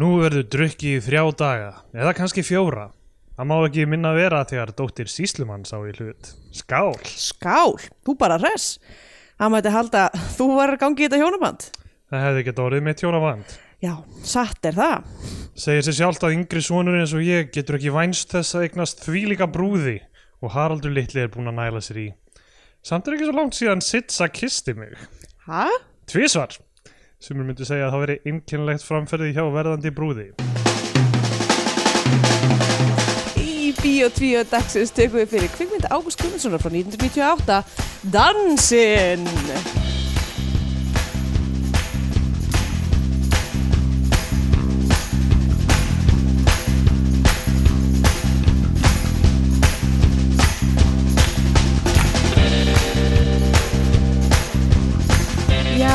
Nú verður drukki í þrjá daga, eða kannski fjóra. Það má ekki minna vera þegar dóttir Síslumann sá í hlut. Skál! Skál, þú bara res Það mætti halda að þú var að gangi í þetta hjónaband Það hefði ekki orðið mitt hjónaband. Já, satt er það Segir sér sjálft að yngri sonur eins og ég getur ekki vænst þess að eignast þvílíka brúði og Haraldur litli er búinn að næla sér í. Samt er ekki svo langt síðan Sitsa kisti mig. Hæ? Tvísvar! Sumur myndu segja að það veri einkennlegt framferði hjá verðandi brúði. Í Bíó 2 dagsins tökum við fyrir kvikmynda Ágúst Gunnarssonar frá 1998 Dansinn Já,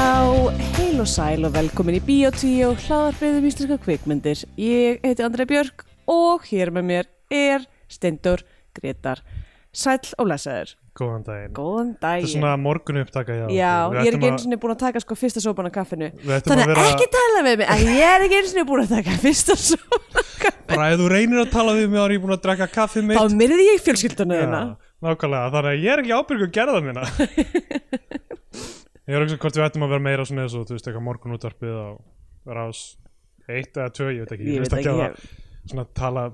heil og sæl og velkomin í Bíó 2 hlaðarfið um íslenska kvikmyndir Ég heiti Andrei Björk og hér með mér er Stendur Gretar Sæll og lesaður Góðan daginn. Góðan Þetta daginn er svona morgun upptaka hjá. Já, okkur. Við ég er ættum ekki að- einu sinni búin að taka sko fyrsta sopan af kaffinu Við ættum Þannig að vera... vera- ekki tala með mig að ég er ekki einu sinni búin að taka fyrsta sopan af kaffinu Bara ef þú reynir að tala við mig ára ég er búinn að drekka kaffið mitt. Þá myrði ég fjölskyldunum þina Já, nákvæmlega, þannig að ég er ekki ábyrgur gerða minna Ég er ekki svo hvort við ættum að vera meira svona eins og þú veist eitthvað morgunútvarpið á rás eitt eða tvö, ég veit ekki, Ég ég veit veist ekki að ekki, það svona tala,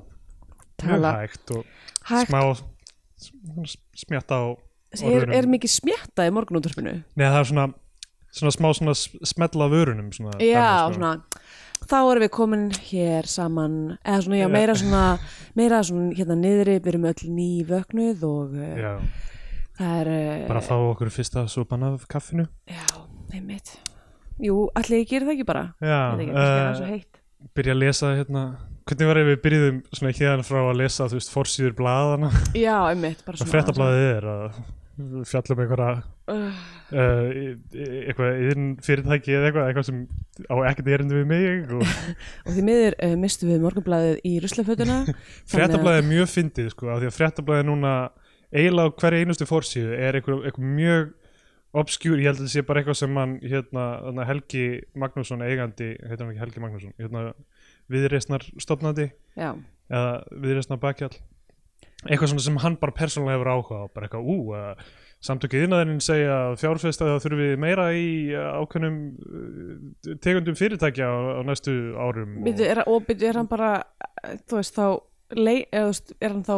tala. Tala hægt og hægt smá s- s- smjatta á er, orðunum. er mikið smjatta í morgunúndurfinu Nei, það er svona, svona smá svona s- smella af vörunum svona, Já, dæmi, sko. svona Þá erum við komin hér saman eða svona, já, meira svona meira svona hérna niðri, við erum öll nývöknuð og uh, Já, það er uh, bara fá okkur fyrsta sopan af kaffinu Já, einmitt Jú, allir ég gerir það ekki bara Já, Ég veit ekki, kannski eh, er það svo heitt byrja að lesa hérna hvernig var ef við byrjuðum svona hérna frá að lesa þú veist, forsýður blaðana Já, einmitt, bara Það svona fréttablaðið er að við fjallum einhverja Uh, uh, í- í- eitthvað yðin fyrirtæki eða eitthvað, eitthvað sem á ekkert erindu við mig og og því miður uh, mistum við morgunblæðið í ruslafötuna fréttablaðið er mjög fyndið sko, af því að fréttablaðið núna eiginlega á hverju einustu fórsíðu er eitthvað, eitthvað mjög obskjúr, ég held að það sé bara eitthvað sem hann hérna, þarna Helgi Magnússon eigandi, heitir hann ekki Helgi Magnússon hérna, viðreisnar stopnandi já, eða viðreisna bakkjall eitthvað svona sem hann bara persónulega hefur áhuga á bara eitthvað, ú, uh, samtökið innadurinn segja að fjárfesta það þurfi meira í uh, ákveðnum uh, tegundum fyrirtækja á, á næstu árum og- byrju, er, og byrju, er hann bara eh, þú veist þá lei, eða, þú veist, er hann þá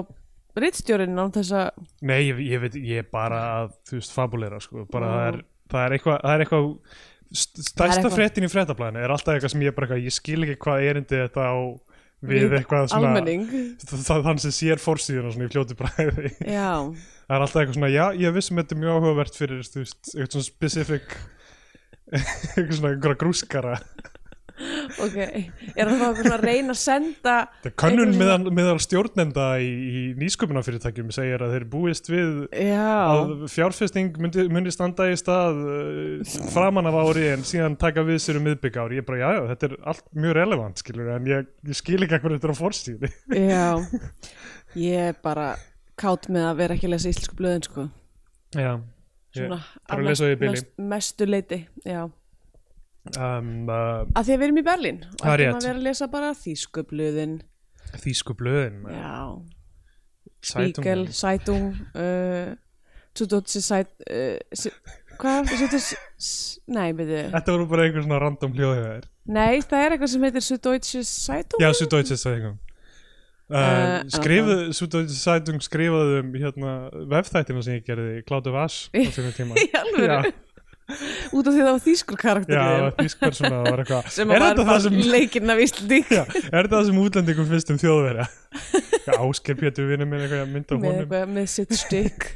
rittstjórinn án þess að Nei, ég, ég veit, ég er bara að þú veist, fabulera, sko, bara Já. það er það er eitthvað, það er eitthvað st- er stærsta eitthvað. fréttin í fréttablaðinu er alltaf eitthvað sem ég bara eitthvað, ég skil ekki hvað erindi þetta á við Við eitthvað svona, almenning það, þann sem sér fórsíðuna svona í fljótu bræði já, það er alltaf eitthvað svona, já, ég vissum þetta er mjög áhugavert fyrir, þú veist, eitthvað svona specific eitthvað svona einhverja grúskara ok er hann þá eitthvað svona að reyna að senda það er könnun Eitthvað meðal, meðal stjórnenda í, í nýsköpunarfyrirtækjum segir að þeir búist við að já, fjárfesting myndi, myndi standa í stað uh, framan af ári en síðan taka við sér um miðbygg ári, ég bara, já, já, þetta er allt mjög relevant, skilur, en ég, ég skil ekki eitthvað þetta er á fórstíði já ég er bara kátt með að vera ekki að lesa íslensku blöðin sko já, svona bara að lesa þau í bili. mestu leiti já um, uh, að því að við erum í Berlín og Það er ætlum rétt. að vera að lesa bara þýsku blöðin þýsku blöðin um já, Zeitung. Spiegel, Zeitung uh, Tudotsi Zeit uh, si- Hvað er þetta? Nei, byrju þetta voru bara einhver svona random hljóðið þær Nei, það er eitthvað sem heitir Süddeutsche Zeitung Já, Süddeutsche Zeitung uh, Eh, Skrifuð, Süddeutsche Zeitung skrifaði um hérna, vefþættina sem ég gerði Klátu Vass á sínum tíma Í alvöru? Já, Út af því það var þýskur karakter í já þeim, þýsk persóna var eitthvað sem Er var þetta það bara sem sem... leikinn af Íslandík Já, er þetta það sem útlendingum finnst um þjóðverja? Já, Ásker Pétur vinur minn eitthvað mynd af með, honum eitthvað, með sitt stykk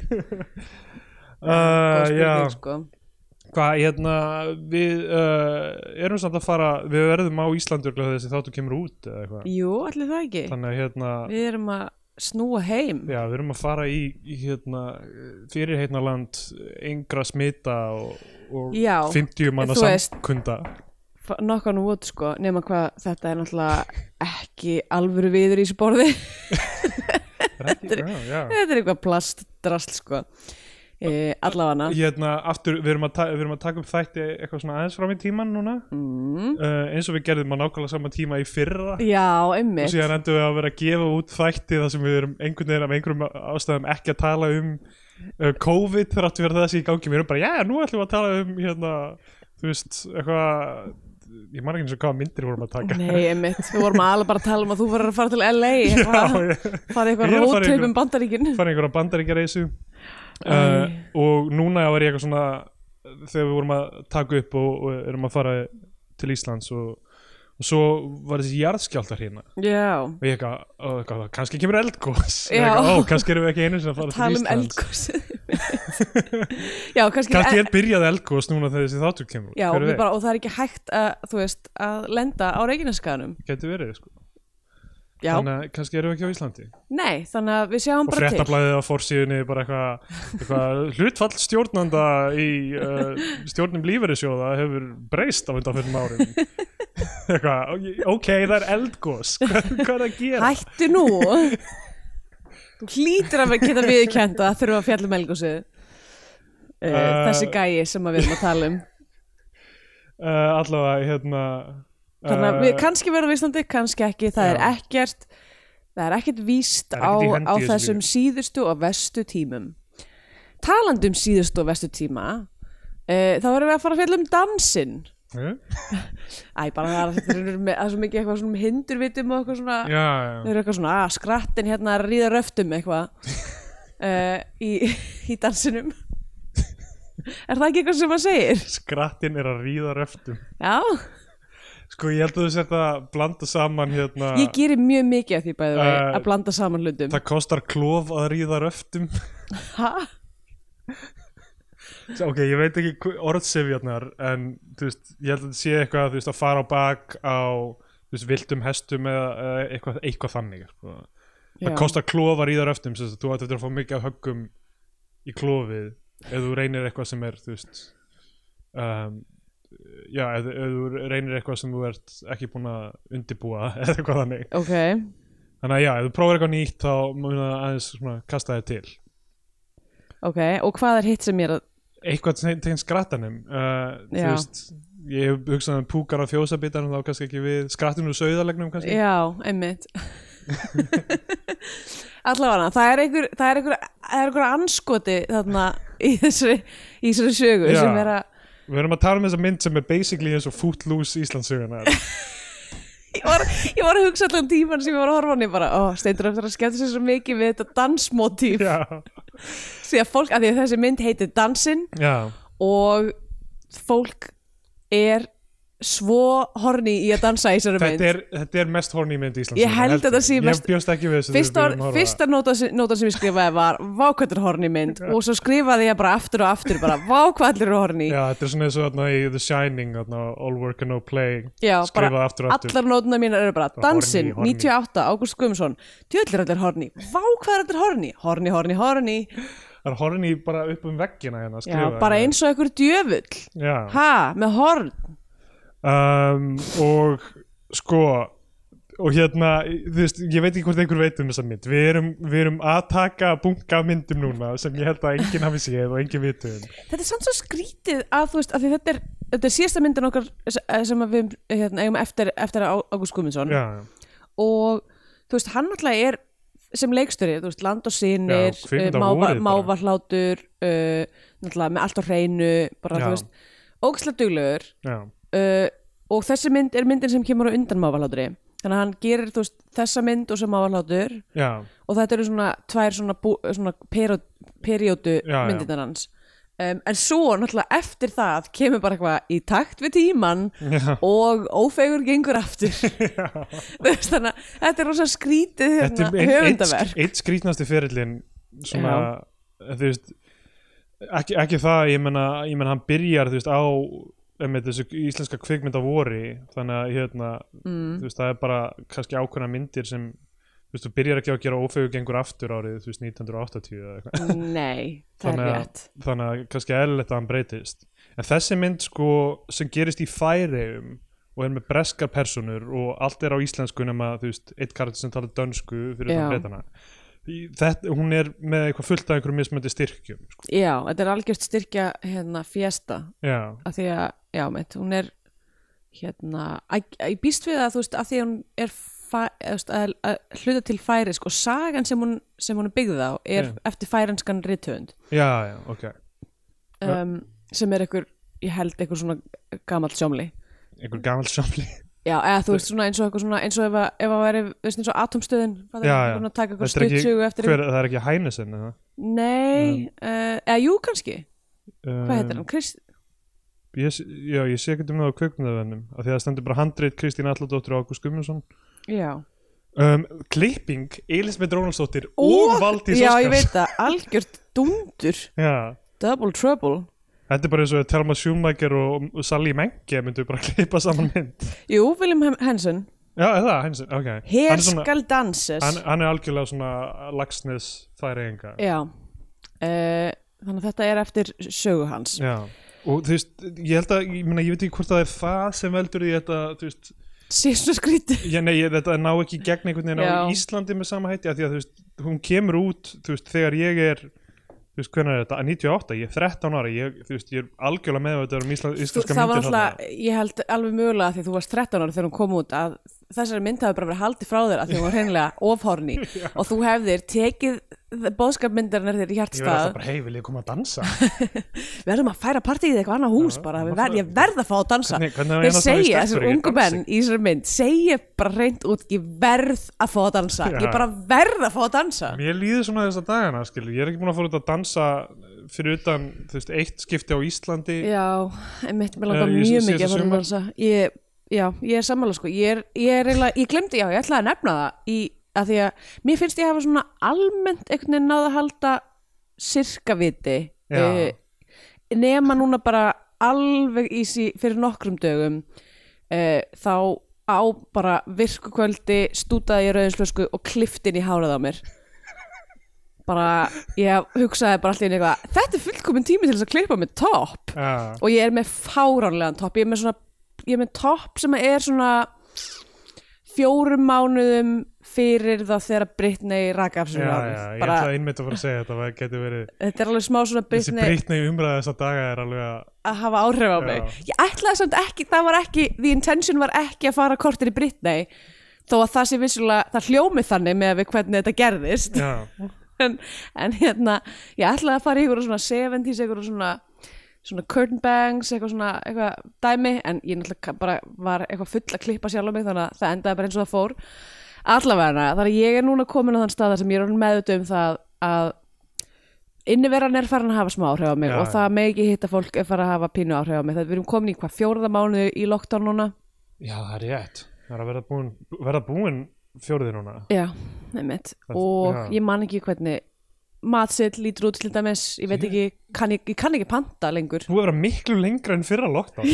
uh, Góð Já, spurning, sko. hvað, hérna við uh, erum samt að fara við verðum á Íslandur þessi þáttu kemur út eða eitthvað Jú, allir það ekki Þannig að hérna Við erum að snúa heim Já, við erum að fara í, í hérna, fyrirheitnaland yngra smita og, og Já, 50 manna þú veist. samkunda F- knock on wood sko nema hvað þetta er náttúrulega ekki alvöru viður í þessu borði Þetta er, já, já. þetta er eitthvað plastdrasl sko e, allafana hérna, aftur, við erum, að ta- við erum að taka upp þætti eitthvað svona aðeins fram í tíman núna mm. uh, eins og við gerðum á nákvæmlega sama tíma í fyrra já, og einmitt síðan endur við að vera að gefa út þætti þar sem við erum einhvern veginn af einhverjum ástæðum ekki að tala um uh, COVID þrátt fyrir það sé í gangi við erum bara, já, nú ætlum við að tala um hérna, þú veist, eitthvað ég man ekki eins og hvaða myndir vorum að taka nei, einmitt, við vorum alveg bara að tala um að þú verður að fara til LA já, eitthvað, ég fara Ég í eitthvað er að fara í róttrip einhver- um bandaríkin fann einhverja bandaríkjareysu uh, Æ. og núna var ég eitthvað svona þegar við vorum að taka upp og, og erum að fara til Íslands og, og svo var þessi jarðskjáltar hérna já, og ég eitthvað, ó, eitthvað kannski kemur eldgós Já. eitthvað, ó, kannski erum við ekki einu sinni að fara til tala um Íslands eldgósi já, kannski, e- kannski er byrjað eldgós núna þegar þessi þáttur kemur já, hver við veit, bara, og það er ekki hægt að, þú veist, að lenda á reikinaskanum gæti verið sko. já, þannig að kannski erum við ekki á Íslandi nei, þannig að við sjáum og bara til fréttablaðið á forsíðunni bara eitthvað, eitthvað hlutfall stjórnanda í uh, stjórnum lífeyrissjóða hefur breyst á undan fyrir árum eitthvað, ok, það er eldgós hvað, hvað er að gera? hættu nú þú hlýtur að geta viðkjönda að þurfa að fjalla um eldgósi uh, Eh, þessi gæi sem að við erum að tala um Uh, allavega, hérna þannig að uh, við kannski verðum vissnandi, kannski ekki það er já. ekkert það er ekkert víst Það er ekkert í hendi á, á í þessu þessum síðustu og vestu tímum talandi um síðustu og vestu tíma uh, þá verðum við að fara að fjalla um dansinn eh? æ, bara það er, það er, með- það er svo mikið eitthvað svona hindurvitum og eitthvað svona já, já, þau eru eitthvað svona, að skrattin hérna að ríða röftum eitthvað uh, í, í dansinum er það ekki eitthvað sem maður segir? skrattin er að ríða röftum já, Sko ég held að þú sért að blanda saman hérna ég gerir mjög mikið af því bæði uh, Eh, að blanda saman hlutum Það kostar klof að ríða röftum ha? Svo, Ok, ég veit ekki hv- orðsifjarnar en þú veist, ég held að þetta sé eitthvað þú veist, að fara á bak á þú veist, viltum hestum eða, eða eitthvað, eitthvað þannig sko. Já. Það kostar klof að ríða röftum sem sagt, þú ætti eftir að fá mikið af höggum í klofið ef þú reynir eitthvað sem er þú veist um, já, ef, ef þú reynir eitthvað sem þú ert ekki búin að undibúa eða eitthvað þannig ok, Þannig að já, ef þú prófir eitthvað nýtt þá mun það aðeins svona kasta þig til. ok og hvað er hitt sem ég er að Eitthvað te- tengt skrattanum, uh, þú Já. veist, ég hef hugsað um púkar á fjósabitanum þá kannski ekki við, skrattinu og sauðalegnum kannski. já, einmitt allavega, það er einhver það er einhver, það er einhver anskoti þarna í þessari, í þessari sögu Já. sem er að Við erum að tala um þessa mynd sem er basically eins og footloose Íslandsöguna. ég var, ég var að hugsa allan tíman sem ég var að horfa á hann ég bara, ó, Steindur eftir að skemmta sér svo mikið við þetta dansmotíf já, því að fólk, að því að þessi mynd heitir Dansinn já, og fólk er svo horni í að dansa í þessari mynd þetta er, þetta er mest horny mynd Íslandsöguna. Ég held að þetta sé mest- Ég bjóst ekki við þessu. fyrsta, þegar við byrjuðum að horfa. fyrsta nóta, sem- nóta sem ég skrifaði var vákvættur horni mynd og svo skrifaði ég bara aftur og aftur bara vákvættur horni Já, þetta er svona eins og þarna í The Shining, þarna, all work and no play, Já, bara skrifað aftur og aftur. allar nótuna mína eru bara Dansinn, horny, horny. 98, Ágúst Guðmundsson Tjöðlir allir horni, vá hvað er allir horni Horni, horni, horni Það er horny bara upp um veggina hérna, Já, skrifað. bara eins og einhver djöfull Já. Ha, með horn um, og sko og hérna, þú veist, ég veit ekki hvort einhver veit um þessa mynd, við erum, við erum að taka bunga af myndum núna sem ég held að enginn hafi séð og enginn vitu um Þetta er samt svo skrítið að þú veist að þetta er, þetta er síðasta myndin okkar s- eh, sem að við hérna, eigum eftir, eftir Á- Ágúst Guðmundsson já, og þú veist, hann náttúrulega er sem leikstöri, þú veist, land og eh, sinir Já, kvikmynd á vorið bara. mávahlátur uh, náttúrulega með allt á hreinu bara, Já. þú veist, ógislega duglegur já, uh, og þessi mynd er myndin sem kemur á undan mávahlátri þannig að hann gerir þú veist, þessa mynd og sem mávahlátur já, og þetta eru svona tvær svona, bú, svona peró- períodu Já, já. myndirnar hans um, en svo náttúrulega eftir það kemur bara eitthvað í takt við tíman já. og ófegur gengur aftur Þú veist, þannig að þetta er rosa skrítið Þetta hérna, er ein- einn höfundaverk sk- einn skrýtnasti ferillin svona, þú veist ekki, ekki það, ég menna, ég menna hann byrjar, þú veist, á með þessu íslenska kvikmynd á vori þannig að, hérna, þú veist, það er bara kannski ákveðna myndir sem þú veist, þú byrjar ekki á að gera ófegugengur aftur árið, þú veist, 1980 eða eitthvað nei, það er Þannig að- rétt þannig að kannski eðlilegt að hann breytist en þessi mynd sko sem gerist í færiðum og er með breskar personur og allt er á íslensku nema þú veist, eitt karakter sem talar dönsku fyrir Já. það breytana í- þetta, hún er með eitthvað fullt af einhverjum mismöndi styrkjum sko. já, þetta er algjörst styrkja hérna fjesta já, að því að, já, meint, hún er hérna, að, að, ég býst við að þú veist, að því að hún er fæ, að, veist, að, að hluta til færisk og sagan sem hún, sem hún er byggð á er Já. eftir færenskan rithöfund já, já, ok Já. um, sem er einhver, ég held einhver svona gamall sjómli einhver gamall samli Já, eða þú veist svona eins og eitthvað svona eins og ef að, ef að væri, veist eins og atomstöðin hvað Já, er já. hún að taka eitthvað Þetta er ekki- stuttsögu eftir hver, það er ekki Hænesen eða Nei, uh, eða jú kannski Hvað Eh. heitir hann? Krist... Um, Ég, sé- já, ég sé ekki um það á kveikmyndavennum af því að það stendur bara handrið Kristín Alladóttir og Ágúst Gumminsson Já um, Klipping, Elisabeth Rónalsdóttir og Valdís Já, Óskars ég veit það, algjört dundur Já, Double trouble þetta er bara eins og Telma Schumacher og og Sally Menke myndu bara klippa saman mynd Jú, William Hen- Henson Já, er það, hans, ok Hann Hér er, svona, skal danses hann, hann er algjörlega svona lagsnes færiðinga Já uh, Þannig að þetta er eftir sögu hans Já, og þú veist, ég held að ég, meina, ég veit ekki hvort það er það sem veldur því þetta, þú veist, Sýstu skríti Já, nei, ég, þetta ná ekki í gegn einhvern veginn á Já. Íslandi með sama hætti af því að þú veist, hún kemur út þú veist, þegar ég er þú veist, hvernig er þetta, 98, ég er 13 ára ég, þú veist, ég er algjörlega meðvættur um ísla, Þú- íslenska það var myndir alltaf, ég held alveg mögulega að því að þú varst 13 ára þegar hún kom út að þessari mynd hafi bara verið haldið frá þér að því hún var hreinlega ofhorni og þú hefðir tekið bóðskapmyndarinnar þér í ég verði alltaf hjartstað bara, hei, vil ég koma að dansa verðum að færa partíið í eitthvað annað hús Já, bara, það við var ver, ég verð að fá að dansa Hvernig- hvernig á ég þeir annars að fara í segja, stelpur, þessir ég ungu dansa menn í þessari mynd, segja bara reynd út ég verð að fá að dansa Já. ég bara verð að fá að dansa mér líður svona þessa dagana, skilur, ég er ekki búin að fóra út að dansa fyrir utan, þú veist, eitt skipti á Íslandi já, einmitt, mér Eh, langar í mjög þessu mikið síðasta að fara að sumar. dansa ég, já, ég er sammála sko ég er, ég er eiginlega, ég glemdi, já, ég ætlaði að nefna það í, að því að mér finnst ég hafa svona almennt einhvern veginn náð að halda sirkaviti eh, Já. nema núna bara alveg í sí fyrir nokkrum dögum e, þá á bara virkukvöldi stútaði ég rauðinslösku og kliftin í hárað á mér bara, ég hugsaði bara allir eitthvað, þetta er fullkomin tími til þess að klippa með topp Já, og ég er með fáránlegan topp ég er með svona ég er með topp sem er svona fjórum mánuðum fyrir þá þegar Britney raka af já, sér já, hárið. ég bara, ætla einmitt að fara að segja þetta það getur verið, þetta er alveg smá svona þessi Britney Britney umræða þessa daga er alveg að að hafa áhrif á Já. mig ég ætlaði samt ekki, það var ekki the intention var ekki að fara kortir í Britney þó að það sé vissulega, það hljómi þannig með við hvernig þetta gerðist já, en, en hérna ég ætlaði að fara í ykkur svona 70s ykkur svona, svona curtain bangs eitthvað svona eitthvað dæmi en ég náttúrulega ka- bara var eitthvað full að klippa sjálf á mig þannig að það endaði bara eins og það fór allavega þannig að ég er núna komin á þann stað þar sem ég er meðut um það að inniveran er farin að hafa smá áhrif á mig Já, og já. það með ekki hitta fólk er farin að hafa pínu áhrif á mig það við erum komin í hvað fjórða mánu í lockdown núna já, það er rétt það er að verða búin, verða búin fjórði núna já, nefnit Það- og já. ég man ekki hvernig matsill lítur út til dæmis ég veit ekki, kann ég, ég kann ekki panta lengur Þú verður miklu lengra en fyrra lockdown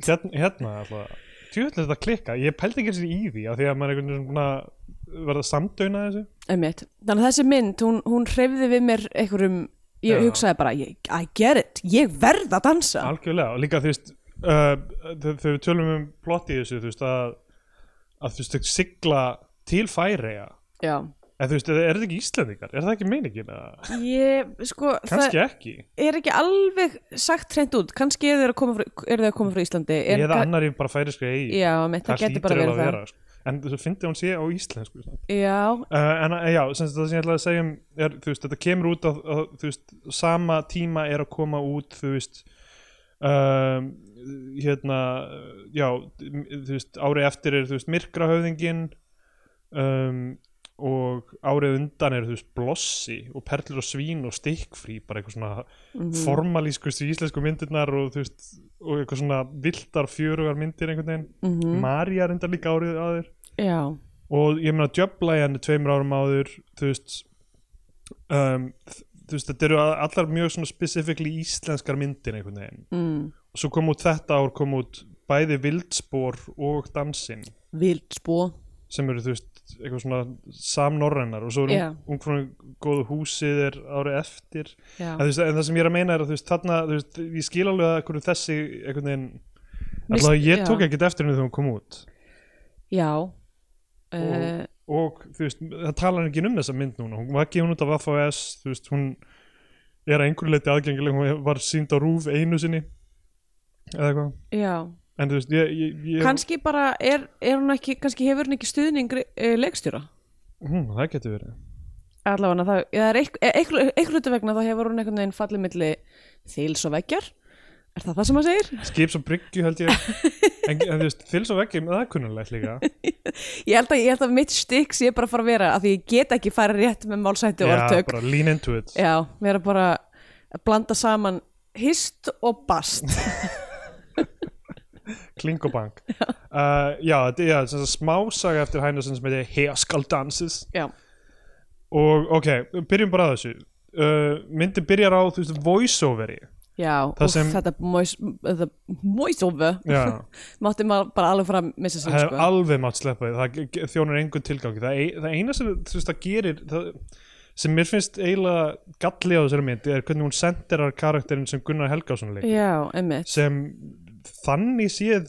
hérna, hérna alltaf Tjóðlega þetta klikka, ég pældi ekki eins og í því af því að maður er einhvern veginn svona búinn að verða samdauna þessu Einmitt. Þannig að þessi mynd, hún, hún hreyfði við mér einhverjum, ég Já. hugsaði bara ég, I get it, ég verð að dansa Algjörlega, og líka þú veist uh, þe- þegar við tölum um plott í þessu þú veist að, að þú veist þau sigla til færeja Já, en þú veist, er þetta ekki Íslandingar? Er það ekki meiningin? eða? ég, sko Kannski ekki það er ekki alveg sagt hreint út, kannski eru þeir að koma frá, eru þeir að koma frá Íslandi er, eða annar ég bara færiska eigi Já, mitt, það, getur bara verið það sko. En þú finnir hún sé á íslensku sko. samt. Já, Uh, en eh, já, sem sagt, það sem ég ætlaði að segja um er, þú veist, þetta kemur út á, á, þú veist, sama tíma er að koma út þú veist um, hérna já, þú veist, árið eftir er þú veist, myrkrahöfðingin um, og árið undan er þú veist, blossi og perlur og svín og stikkfrí, bara eitthvað svona Mhm. formalískustu íslensku myndirnar og þú veist, og eitthvað svona viltar fjörugar myndir einhvern veginn mm María reyndar líka árið aður já, og ég meina djöfla í henni tveimur árum áður þú veist um, þ- þú veist þetta eru a- allar mjög svona specifíkli íslenskar myndir einhvern veginn mm. og svo kom út þetta ár kom út bæði vildspor og dansinn vild spó sem eru þú veist eitthvað svona samnorrennar og svo er Já. yeah. ungfrúin góðu húsið er árið eftir Já, en, þú veist, en það sem ég er að meina er að þú veist þarna þú veist ég skil alveg að hverju þessi einhvern veginn Mist- allavega ég já. tók ekkert eftir henni þegar hún kom út já. Uh, og þú veist, það talar ekki um þessa mynd núna, hún var gefin út af FAS þú veist, hún er að einhverju leiti aðgengileg, hún var sínd á rúf einu sinni eða eitthvað já, en þú veist, ég, ég, ég kannski bara er, er hún ekki, kannski hefur hún ekki stuðning uh, leikstjóra hún, Hm, það getur verið allavega það, já, það er eh, eitthvað hlutu vegna þá hefur hún einhvern veginn fallið milli þils og veggjar er það það sem maður segir? skips og bryggju held ég en, en þú veist, þils og veggjum, það er kunnulegt líka Ég held, að, ég held að mitt stikk sé bara að fara að vera að því ég get ekki farið rétt með málsætti og já, orðtök bara lean into it já, vera bara að blanda saman hist og bast Klingobank uh, Já, þetta er- já, sem sagt smásaga eftir Hænarsen sem heitir Hér skal danses já, og ok, byrjum bara að þessu uh, myndin byrjar á, þú veist, voiceoveri já Það úff, sem- þetta voice- voiceover Já. mátti maður bara alveg fara að missa sig það er sko. alveg mátt sleppa því, það ge- ge- þjónar engun tilgangi það, ei- það eina sem þú veist, það gerir það, sem mér finnst eiginlega galli á þessari mynd er hvernig hún senderar karakterinn sem Gunnar Helgason leikur já, emmitt sem þannig séð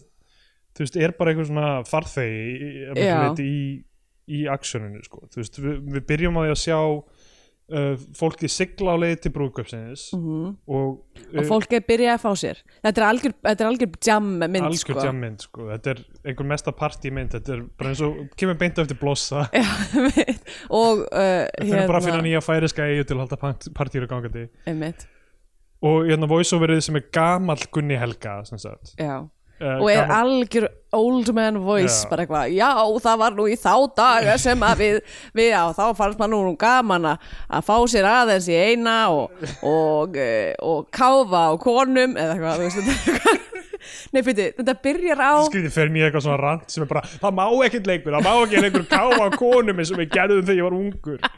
þú veist, er bara einhver svona farþegi í, að miklu Já. leyti í, í aksjóninu sko. þú veist, við, við byrjum á því að sjá uh, fólki sigla á leið til brúðköpsins Mhm. -hmm. og, og fólk er byrjað að fá sér þetta er algjör, þetta er algjör jam mynd algjör sko. sko. jammynd sko. þetta er einhver mesta partí mynd þetta er bara eins og kemur beint eftir blossa Einmitt. og uh, Við finnum bara að finna nýja færiska eigu til að halda partýru gangandi einmitt, og hérna voiceoverið sem er gamall Gunni Helga sem sagt já uh, og er algjör old man voice Já. bara eitthvað, já það var nú í þá daga sem að við, við á, þá fannst maður nú gaman að- að fá sér aðeins í eina og, og, eh, og káfa á konum eða eitthvað, þú veist þetta er eitthvað- Nei, fyrir, þetta byrjar á skrítið fyrir mér eitthvað svona rant sem er bara það má ekkert leikur, það má ekki leikur káfa á konum eins og við gerðum þegar ég var ungur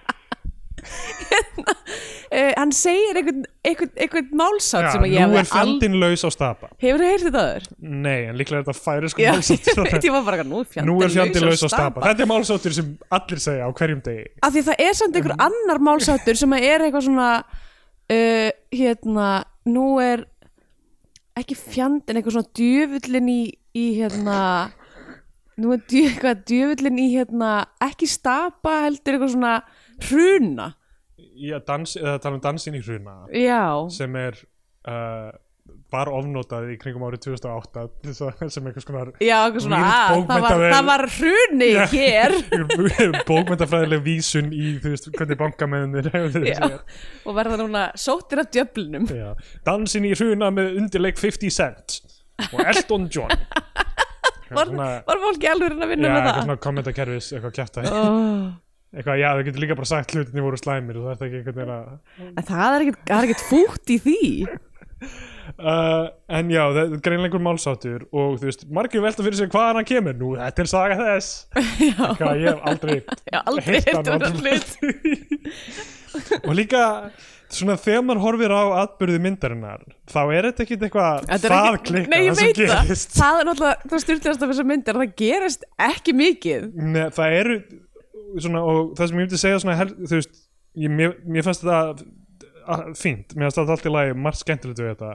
uh, hann segir einhvern, einhvern, einhvern málsátt Já, sem að ég nú er hafði aldrei fjandinn laus á stapa Hefur þið heyrt þetta aður? Nei, en líklega er þetta færisku Já, ég veit, málsáttur ég var bara eitthvað, nú er Nú er fjandinn fjandinn laus á stapa Þetta er málsáttur sem allir segja á hverjum degi af því það er samt einhver Mm. annar málsáttur sem að er eitthvað svona uh, hérna, nú er ekki fjandinn eitthvað svona djöfullin í, í hérna nú er djö, eitthvað djöfullin í hérna ekki stapa heldur eitthvað svona hruna Ég að dans, eða tala um dansin í hruna já, sem er uh, var ofnótað í kringum árið 2008 til þess að- sem einhvers konar já, eitthvað svona Nýtt að, það, var, bókmenntavel. það var hruni hér bókmyndafræðileg vísun í þú veist, hvernig bankamennir já, og verða núna sóttir af djöflinum Já. dansin í hruna með undirleik 50 cent og Elton John var, Eitthvað svona- var fólki alveg að Já, vinna með eitthvað það svona kommentakerfis, eitthvað kjarta oh. eitthvað, já, þau getur líka bara sagt hlutinni voru slæmir og það er ekki einhvern veginn að en það er ekkert- það er ekkert fútt í því uh, en já, það er greinleikur málsáttur og þú veist, margir velta fyrir sig hvaðan hann kemur nú, þetta er saga þess eitthvað, ég hef aldrei Já, aldrei Heyrt eftir hann þennan aldrei. hlut og líka svona þegar maður horfir á atbyrði myndarinnar þá er þetta ekkit eitthvað Þetta er það ekki- klikkað, Nei, ég það sem veit það gerist Það er náttúrulega, það styrtast af þessar myndir Það gerist ekki mikið Nei, það eru svona, og það sem ég myndi segja svona, hel, þú veist, ég, mér, mér fannst þetta a- fínt, mér fannst þetta allt í lagi margt skemmtilegt við þetta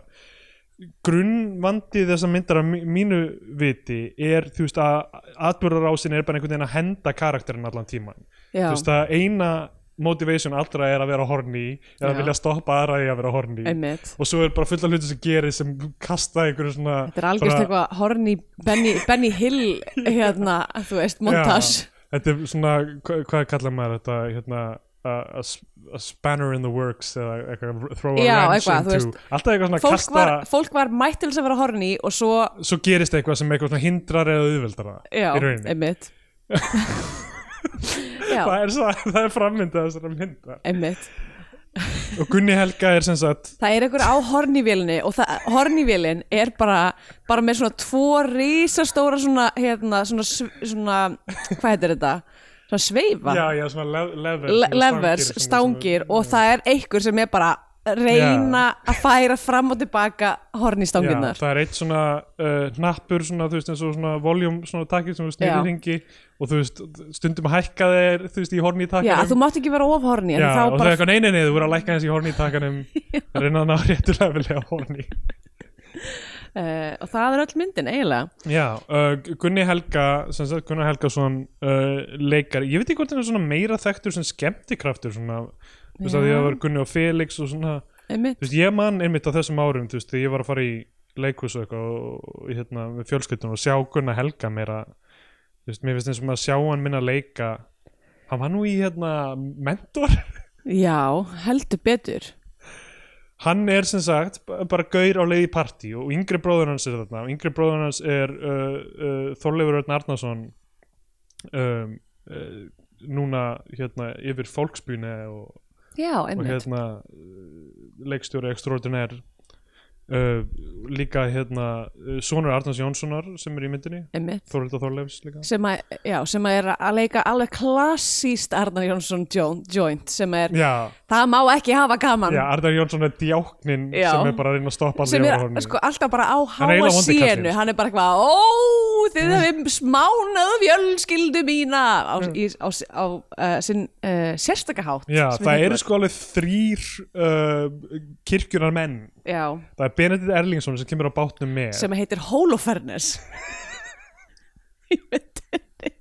grunnvandi þessa myndar að mínu viti er þú veist að atbyrðarásin er bara einhvern veginn að henda karakterinn allan tíman Já, þú veist að eina motivation allra er að vera horny eða Já. vilja stoppa aðra í að vera horny einmitt og svo er bara fullt af hluti sem gerir sem kasta einhverju svona Þetta er algjörst bara- eitthvað horny Benny, Benny Hill hérna, þú veist, montage Já, þetta er svona, hva, hvað kallar maður þetta hérna a, a, s- a spanner in the works eða eitthvað, throw a Já, wrench eitthvað, þú into veist. alltaf eitthvað svona Fólk kasta var, fólk var mætt til þess að vera horny og svo, svo gerist eitthvað sem eitthvað svona hindrar eða auðveldar það já, í rauninni einmitt Já, það er, svo, það er frammyndað þessara mynda einmitt og Gunni Helga er sem sagt Það er einhver á hornivélinni og það- hornivélin er bara, bara með svona tvo risastóra svona, hérna, svona, sv- svona hvað heitir þetta? Svona sveifa, já, já, svona le- lever, Le- svona levers, svona- stangir svona- og það er einhver sem er bara að reyna að færa fram og tilbaka Já, hornistanginnar. það er eitt svona uh, nappur svona, þú veist, eins og svona voljum svona takkir sem þú Já. snýrir hringi og þú veist, stundum að hækka þeir þú veist, í horni í Já, takkanum þú mátt ekki vera of horni en Já, þá og það er bara, eitthvað neina neður, þú voru að lækka hans í horni í takkanum reyna að ná réttu leveli á horni uh, og það er öll myndin eiginlega Já, uh, Gunni Helga sem sagt Gunnar Helgason uh, leikar, ég veit ekki hvort hann er svona meira þekktur sem skemmtikraftur svona, þú veist að því að það var Gunni og Felix og svona, einmitt, þú veist ég man einmitt á þessum árum, þú veist, þegar ég var að fara í leikhús og eitthvað og, og hérna með fjölskyldunum og sjá Gunnar Helga meira þú veist, mér finnst eins og maður að sjá hann minna leika, hann var nú í hérna mentor, já, heldur betur hann er sem sagt b- bara gaur á leið í partí og yngri bróður hans er þarna, yngri bróður hans er uh, uh, Þorleifur Örn Arnason um, uh, núna hérna yfir fólksbýni og, já, og einmitt, hérna uh, leikstjóri extraordinær uh, líka hérna uh, sonur Arnars Jónssonar sem er í myndinni einmitt Þorleifur Þorleifs líka sem að, já, sem að er að leika alveg klassíst Arnar Jónsson jo- joint sem er, Já, það má ekki hafa gaman já Arnar Jónsson er djáknin Já. sem er bara að reyna að stoppa sem er jólahátíðinni. sko, alltaf bara á Hann er háa eiginlega Mm. vondi sínu kallinn. hann er bara eitthvað, ó þið hefum smánað fjölskyldu mína á, í, á, á uh, sinn uh, sérstakahátt Mm. Já, það eru sko alveg þrýr uh, kirkjunar menn já, Það er Benedikt Erlingsson sem kemur á bátnum með sem heitir Holofernes Í myndinni.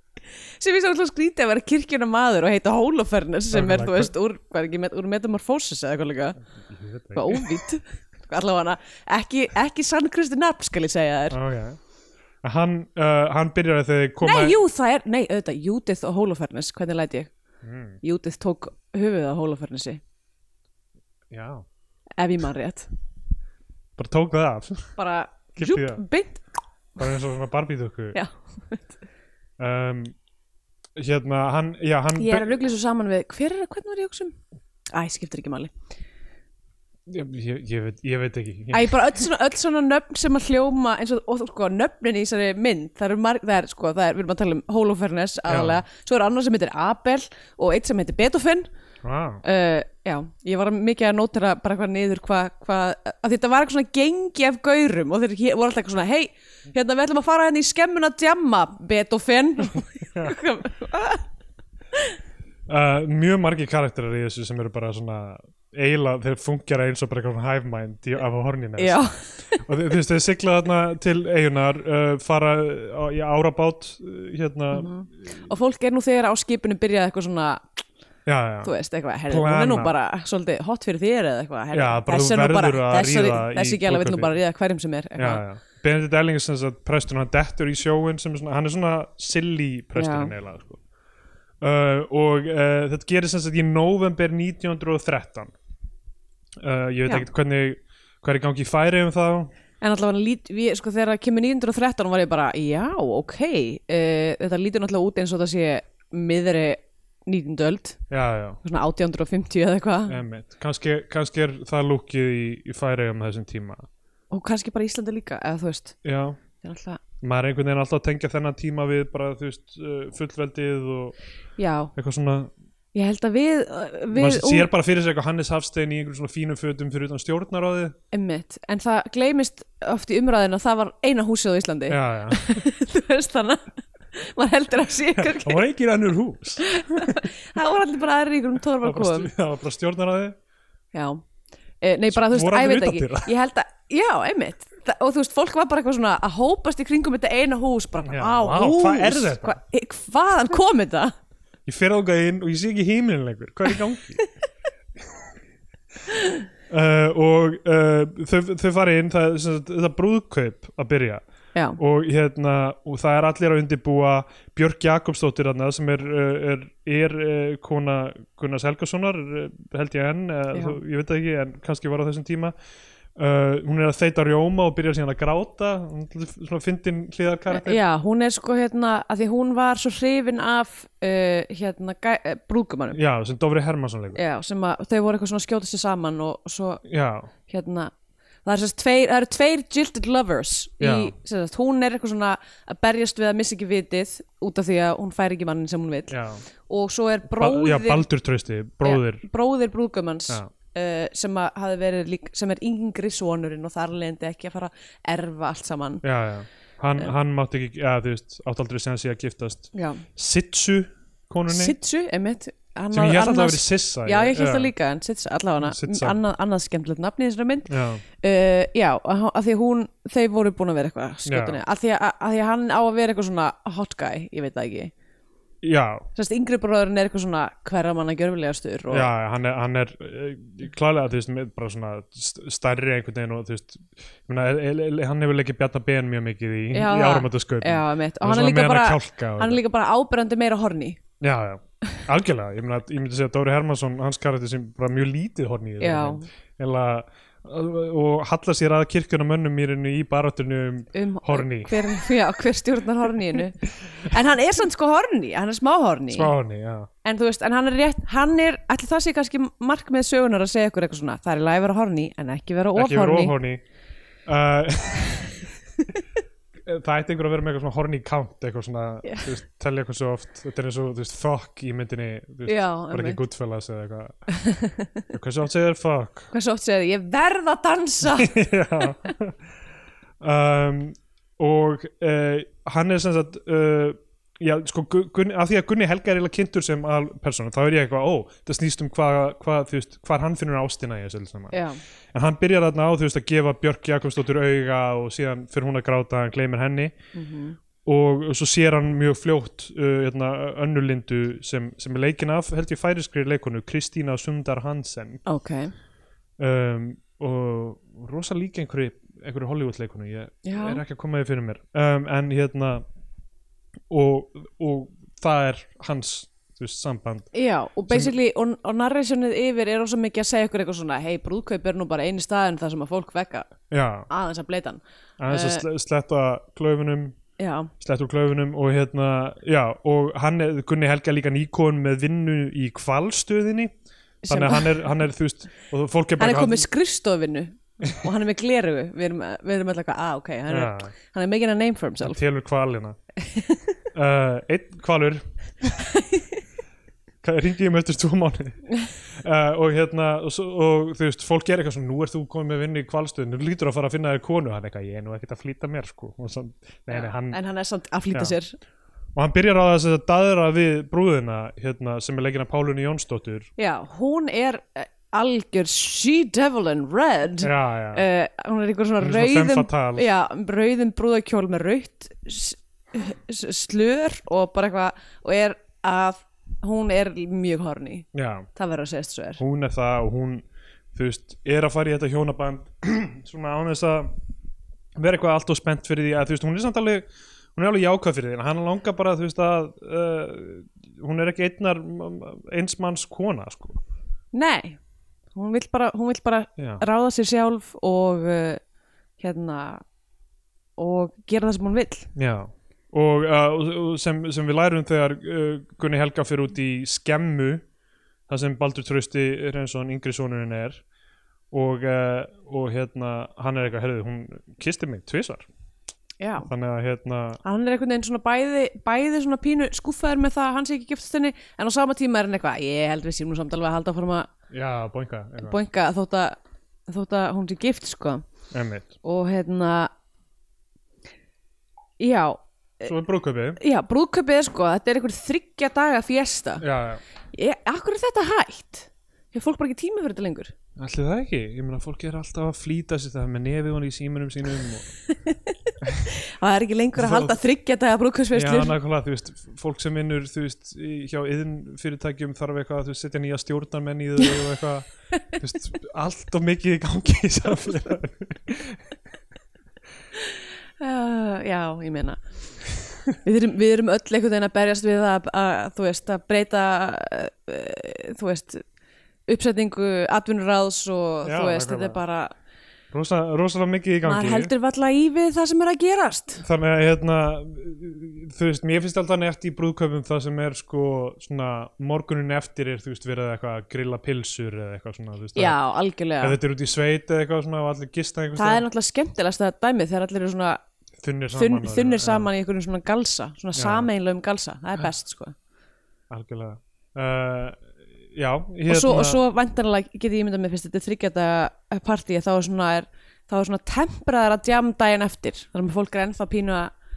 sem ég svo alltaf skrítið að vera kirkjuna maður og heita Holofernes sem er, þú veist, úr, hvað er ekki, met- úr metamorfósis eða eitthvað líka, hvað óvít allavega ekki, ekki sann kristi nafn skal ég segja þér okay. hann, uh, hann byrjar að þeir koma Nei, jú, það er, nei, auðvitað, Judith og Holofernes, hvernig læt ég? Mm. Judith tók höfuð á Holofernesi, Já, ef ég man rétt. bara tók það af Bara, Kippti rjúp, það. beint, bara eins og svona barbítöku já. um, Hérna, hann, já, hann Ég er að ruggla svo saman við, hver er, hvernig var ég að hugsa um? Æ, skiptir ekki máli. ég, ég, ég, veit, ég veit ekki Æ, bara öll svona, öll svona nöfn sem að hljóma, eins og, og þú- sko, nöfnin í þessari mynd, það eru marg, það er, sko, það er, við erum að tala um Holofernes aðalega, svo er annar sem heitir Abel og eitt sem heitir Beethoven. ah, Uh, já, ég var mikið að nótera bara hvað niður hvað, hva, að þetta var eitthvað svona gengi af gaurum og þeir hér, voru alltaf eitthvað svona, hei, hérna við ætlum að fara hérna í skemmuna djamma, Beethoven uh, Mjög margir karakterar í þessu sem eru bara svona eiginlega, þeir fungjara eins og bara eitthvað hive mind í- af horninu Já, og þau- þú veist, þau sigla þarna til eigunar uh, fara á, í árabát uh, hérna, Mhm. og fólk er nú þegar á skipinu byrjað eitthvað svona, já, þú já veist, eitthvað herri, hún er nú Plana. bara svolítið hot fyrir þér eða eitthvað, herri, Já, bara þú er nú bara verður að þessari, ríða í þessi gæla vill nú brúðkaupið. bara ríða hverjum sem er já, eitthvað. já. Benedikt Ellings sem sagt prestur, hann dettur í sjóin sem er svona, hann er svona silly presturinn Já. eiginlega sko. uh, og uh, þetta gerir sem sagt í november 1913 uh, ég veit Já. ekkert hvernig hvað er í gangi í færi um þá En allavega, lít, við, sko, þegar það kemur 913 var ég bara, já, ok, uh, þetta lítur náttúrulega út eins og það sé miðri 19. öld, já, já, svona 1850 eða eitthvað, emmitt kannski, kannski er það lúkið í, í færi um þessum tíma og kannski bara Íslandi líka, eða þú veist, já, þetta er alltaf, maður er einhvern veginn alltaf að tengja þennan tíma við bara þú veist uh, fullveldið og já, eitthvað svona ég held að við, uh, við, maður sér bara fyrir sér eitthvað Hannes Hafstein í einhverjum svona fínum fötum fyrir utan stjórnaráði ummitt, en það gleymist oft í umræðinu að það var eina húsið á Íslandi, já já, þú veist þannig, maður heldur að sé ykkur, það var ekki annur hús það það voru allir bara aðri ykkur um var bara, tórvalkofum, stj- það var bara stjórnaráði já, Eh, nei bara þú veist, Voru æ, allir veit ekki, utandyra? ég held að, já, einmitt, Þa, og þú veist, fólk var bara eitthvað svona að hópast í kringum þetta eina hús, bara, Já, á, vá, hús, hvað er þetta? hva, eh, hvaðan kom þetta? ég fer ágað inn og ég sé ekki heimilin lengur hvað er í gangi uh, og uh, þau, þau fari inn það, er sem sagt, þetta brúðkaup að byrja Já, og hérna og það er allir að undibúa Björk Jakobsdóttir þarna sem er, uh, er, er uh, kona Gunnars Helgasonar uh, held ég enn, uh, Já. þú, ég veit það ekki en kannski var á þessum tíma uh, hún er að þeita rjóma og byrjar síðan að gráta hún er svona fyndin hliðarkarakter já, hún er sko hérna, að því hún var svo hrifin af, uh, hérna, gæ- eh, brúðgumannum, já, sem Dofri Hermansson leikur já. já, sem að þau voru eitthvað svona að skjóta sér saman og, og svo, Já, hérna, það er sérst tveir, það eru tveir jilted lovers í, Já. Ba bróðir já Baldur Trausti, bróðir ja, bróðir brúðgumans Já. uh, sem, að hafði verið lík, sem er yngri sonurinn og þar lendi ekki að fara að erfa allt saman já, já. Hann, hann mátti ekki, já, þú veist átt aldrei sem að sé að giftast Já. Sitsu konunni Sitsu, emitt, annað, sem ég held að það annars- verið Sissa Já, ég held það líka, en Sitsa, allavega Sitsa. hana annað, annað skemmtilegt nafn í þessari mynd Já, uh, Já, að að því að hún þeir voru búin að vera eitthvað skjótunni að því að, að því að hann á að vera eitthvað svona hot guy, ég veit það ekki já, Sérst, yngri bróðurinn er eitthvað svona hverra manna gjörfilegastur og já hann er, hann er eh, klálega, þú veist, með bara svona st- stærri einhvern veginn og þú veist ég meina, e- e- e- hann hefur leikið Bjarna Ben mjög mikið í, í Já, það- áramöndaskaup já, mitt, og hann er líka bara hann er líka... líka bara áberandi meira horni Já, já, algjörlega, ég, meina, ég myndi segja að Dóri Hermansson, hans karakter sem bara mjög lítið horn í Já. Eða, og hallar sér að kirkjuna mönnum í rauninni í barátunum um horni, hver, já, hver stjórnar horniinu en hann er samt sko horni, hann er smá horni smá horni, já en þú veist, en hann er rétt hann er, ætli það sé kannski markmið sögunar að segja ykkur eitthvað svona, það er í lagi að vera horni en ekki vera ekki vera ofhorni ofhorni uh, það ætti einhver að vera með eitthvað svona horny count eitthvað svona, Já. þú veist, telja eitthvað svo oft þetta er eins og, þú veist, fuck í myndinni þú veist, Já, bara einmitt. ekki Goodfellas eða eitthvað hversu oft segir þér fuck hversu oft segir þið, ég verð að dansa Já. um, og uh, hann er sem sagt uh, já, sko, Gu- Gunni, að því að Gunni Helga er eiginlega kynntur sem alpersona, þá er ég eitthvað, ó, það snýst um hvað, hvað, þú veist, hvar hann finnur ástina í þessu öllu saman. já, En hann byrjar þarna á þú veist að gefa Björk Jakobsdóttur auga og síðan fyrir hún að gráta hann gleymir henni og svo sér hann mjög fljótt uh, hérna, önnulindu sem, sem er leikin af held ég færiskri leikonu Kristína Sundar Hansen ok um, og rosa líka einhverju, einhverju Hollywood leikonu ég Já. er ekki að koma því fyrir mér um, en hérna og, og það er hans þú veist, samband já, og basically, og, og narrationið yfir er ósa mikið að segja ykkur eitthvað svona hei, brúðkaup er nú bara eini staðin þar sem að fólk vekka já, aðeins að bleitan aðeins Eh. að sle- sletta klöfunum já, slett úr klöfunum og hérna já, og hann er, Gunni Helga er líka nýkon með vinnu í kvalstöðinni Sem- þannig að hann er, hann er þú veist og fólk er hann bara er komið skrifstofinu og hann er með glerugu við erum, við erum alltaf eitthvað, ah ok hann er, Já. hann er making a name for himself telur kvalina uh, einn kvalur ringi um eftir tvo mánu uh, og hérna og, svo, og þú veist, fólk er eitthvað svona nú ert þú komið með vinnu í kvalstöðinu, þú lítur að fara að finna þér konu, hann er eitthvað, ég er nú ekkert að flýta mér sko, og, sann, nei, nei, hann, en hann er samt að flýta Mm. Já. sér og hann byrjar á þess að daðra við brúðina, hérna, sem er leikina Pálunni Jónsdóttur já, hún er eh, algjör she devil in red já, já. uh, hún er einhver svona Hún er svona femme rauðum fatale. já, rauðum brúðakjól með raut slur og bara eitthvað og er að hún er mjög horni Já, það verður að segja þessu er hún er það og hún, þú veist, er að fara í þetta hjónaband svona án þess að vera eitthvað allt og spennt fyrir því að þú veist, hún er samt alveg, hún er alveg jákvæð fyrir því en hann langar bara, þú veist, að uh, hún er ekki einnar einsmanns kona, sko nei, hún vill bara, hún vill bara Já. ráða sér sjálf og uh, hérna og gera það sem hún vill Já og, uh, og- og sem, sem við lærum þegar uh, Gunni Helga fyrir út í skemmu það sem Baldur Trausti Reynsson, yngri sonurinn er og, uh, og hérna hann er eitthvað, herðu, hún kisti mig tvisvar já þannig að hérna hann er einhvern veginn svona bæði, bæði svona pínu skúffaður með það að hann sé ekki giftast henni en á sama tíma er hann eitthvað, ég held við séum nú samt alveg að halda áfram að Já, boinga boinga þótt að, þótt að hún sé gift sko Einmitt. og hérna já, Eh, Svo er brúðkaupið já, brúðkaupið er sko þetta er einhver þryggja daga fjesta Já, já ég, akkur er þetta hægt? hefur fólk bara ekki tíma fyrir þetta lengur Ætli það ekki, ég meina fólk er alltaf að flýta sér það með nefið hún í símunum sínum og... það er ekki lengur að Þá- halda þryggja daga Já, brúðkaupsfestlur nákvæmlega, þú veist, fólk sem vinnur þú veist, í- hjá yðin fyrirtækjum þarf eitthvað að þú veist, setja nýja stjórnarmenn í þau og eitthvað, þú veist, allt og mikið í gangi í samfélaginu Uh, já, ég meina við erum, við erum öll einhvern veginn að berjast við að, að þú veist, að breyta uh, þú veist uppsetningu atvinnuráðs og Já, þú veist, nákvæmlega. þetta er bara Rosa, Rosalega mikið í gangi maður heldur valla í við það sem er að gerast Þannig að hérna, þú veist, mér finnst alltaf neitt í brúðkaupum það sem er sko svona morgunin eftir er þú veist verið eitthvað að grilla pilsur eða eitthvað svona, þú veist, Já, að- ef algjörlega þetta er út í sveit eða eitthvað svona og allir gista einhvers Það er staðar, náttúrulega skemmtilegast að dæmið þegar allir eru svona þunnir þunn, saman eh, og- þunnir já, saman í einhverjum svona galsa svona sameinlegum galsa, það er best sko algjörlega uh, já, hérna og svo, og svo vantanlega geti ég myndað mér fyrst þetta er þryggjata partí þá er svona, er, þá er svona tempraðara djam daginn eftir þar með fólk er ennþá pínu að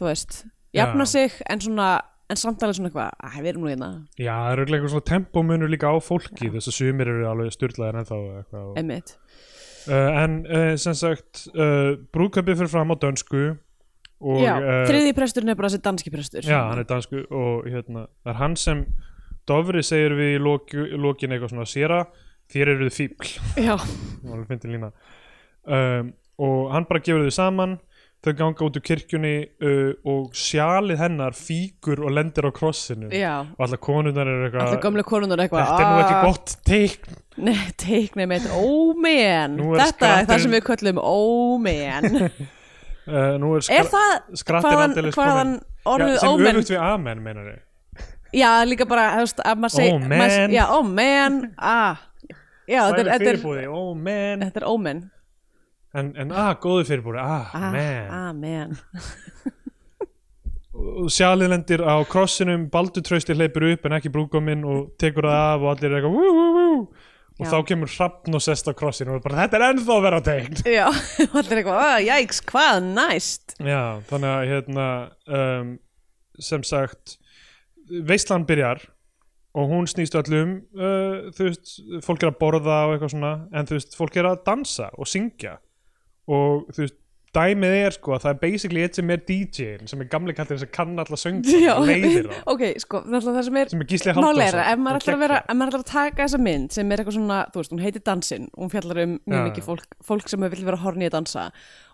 þú veist, jafna Já. sig en svona, en samt alveg svona eitthvað, að við erum nú hérna Já, það er auðvitað eitthvað svona tempómunur líka á fólki þess að sumir eru alveg styrlaðir ennþá og eitthvað, og, emmitt, uh, En uh, sem sagt uh, brúðkaupið fyrir fram á dönsku og já, eh, þriði presturinn er bara þessi danski prestur Já, hann er dansku og hérna, það er hann sem Dofri segir við í lok, lokin eitthvað svona Sera, þér eru þið fíbl já, Það var alveg fyndin lína um, og hann bara gefur þau saman þau ganga út úr kirkjunni uh, og sjalið hennar fíkur og lendir á krossinu já. og allar konundar eru Alltaf eitthvað gömlega konunar eitthvað Eh, þetta er nú ekki "Ah, gott teikn Nei, teiknið mitt, ómen Nú er Þetta er það skratturinn- sem við köllum ómen uh, nú er, Er skra það skrattir hvaðan, aldeilis hvaðan kominn. Já, orðið sem ómen öfugt við amen meinar þau Já, líka bara, þú veist, að maður segi Ómen. maður- Já, ómen ah. Já, þetta er, það er þetta er, fyrirbúði, oh man þetta er ómen en, en ah, góðu fyrirbúði, ah, ah, man Amen og sjalið lendir á krossinum Baldur trausti hleypur upp en ekki brúkominn og tekur það af og allir er eitthvað wú, wú, wú. og Já. þá kemur hrafn og sest á krossinu og bara þetta er ennþá að vera teikn Já, og allir eitthvað, "Ah, jæks, hvað næst já, þannig að hérna um, sem sagt veislan byrjar og hún snýst öllum uh, þú veist, fólk er að borða og eitthvað svona en þú veist, fólk er að dansa og syngja og þú veist dæmið er sko að það er basically eitt sem er DJ-in sem er gamli kallinn sem kann alla söngin Já, og leiðir það ok, sko, náttúrulega það sem er sem er Gísli Halldórsson Máleira, ef maður ætlar að vera, Geggjað. ef maður ætlar að taka þessa mynd sem er eitthvað svona, þú veist, hún heitir Dansinn og hún fjallar um mjög Já, mikið já. fólk, fólk sem vill vera horni að dansa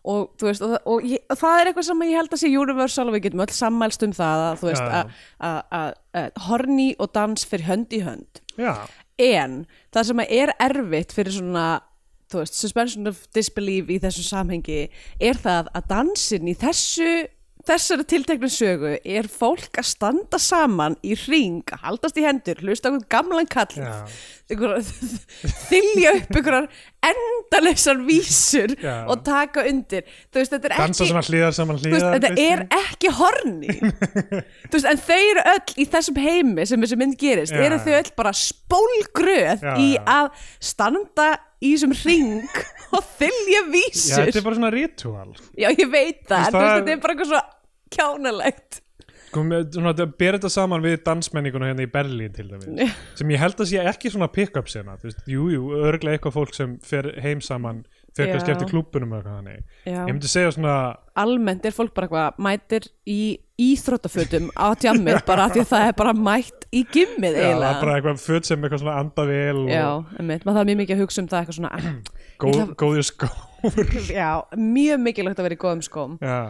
og þú veist, og, það- og, ég, og það er eitthvað sem ég held að sé universal og við getum öll sammælst um það að Já, já. þú veist, að- að að horni og dans fyrir hönd í hönd Já, en það sem er erfitt fyrir svona þú veist, suspension of disbelief í þessu samhengi er það að dansinn í þessu þessari tilteknu sögu er fólk að standa saman í ring, að haldast í hendur hlusta á einhvern gamlan kall Já. einhverjar- þylja upp einhverjar endalausar vísur Já. og taka undir þú veist, þetta er dansa ekki sem að hlýðar saman Þú veist, hlýðar þetta er ekki horni Þú veist, en þau eru öll í þessum heimi sem þessi mynd gerist Já, eru þau já. öll bara spólgröð Já, í já. að standa í þessum ring og þylja Já, vísur þetta er bara svona ritual Já, ég veit veist, það, en þú veist, það- þetta er bara eitthvað svo kjánalegt Sko, með- svona, þetta ber þetta saman við dansmenninguna hérna í Berlín til dæmis sem ég held að sé ekki svona pick-up sena þú veist, jú, jú, örglega eitthvað fólk sem fer heim saman fer Já. kannski eftir klúbunum eða eitthvað þannig Já. Ég myndi segja svona Almennt er fólk bara eitthvað mætir í íþróttafötum á tjammið bara af því að það er bara mætt í gimmið já, það er eiginlega bara eitthvað föt sem eitthvað svona anda vel og Já, emmitt, maður þarf mjög mikið að hugsa um það eitthvað svona góð, ætla- góðir skór Já, mjög mikilvægt að vera í góðum skóm Já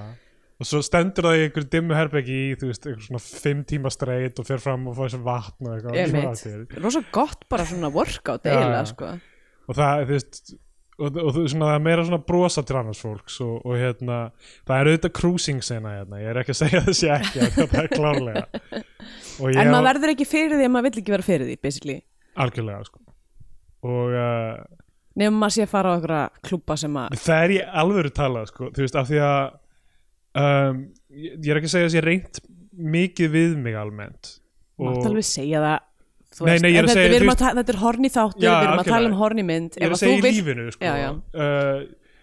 Og svo stendur það í einhverju dimmu herbeki í, þú veist, einhver svona fimm tíma streit og fer fram og fá þessi vatn og eitthvað Ég Svona veit, allt í einu. rosa gott bara svona workout Já, eiginlega já. sko og það, þú veist og, og þú- svona, það er meira svona brosa til annars fólks og, og hérna, það er auðvitað cruising sena hérna, ég er ekki að segja það sé ekki af því að það er klárlega og ég En maður á- verður ekki fyrir því að maður vill ekki vera fyrir því basically, algjörlega sko og uh, nefnum maður sé að fara á einhverja klúpa sem að, það er ég alvöru talað sko, þú veist, af því að um, ég, ég er ekki að segja þess að ég reynt mikið við mig almennt mátt alveg segja það þú Nei, veist, nei, ég er en að þetta- segja, við erum þú að ta- Þetta er horni þáttur, Já, við erum að tala algjörlega. um horni mynd ég er að segja í lífinu sko. Já, já. Uh,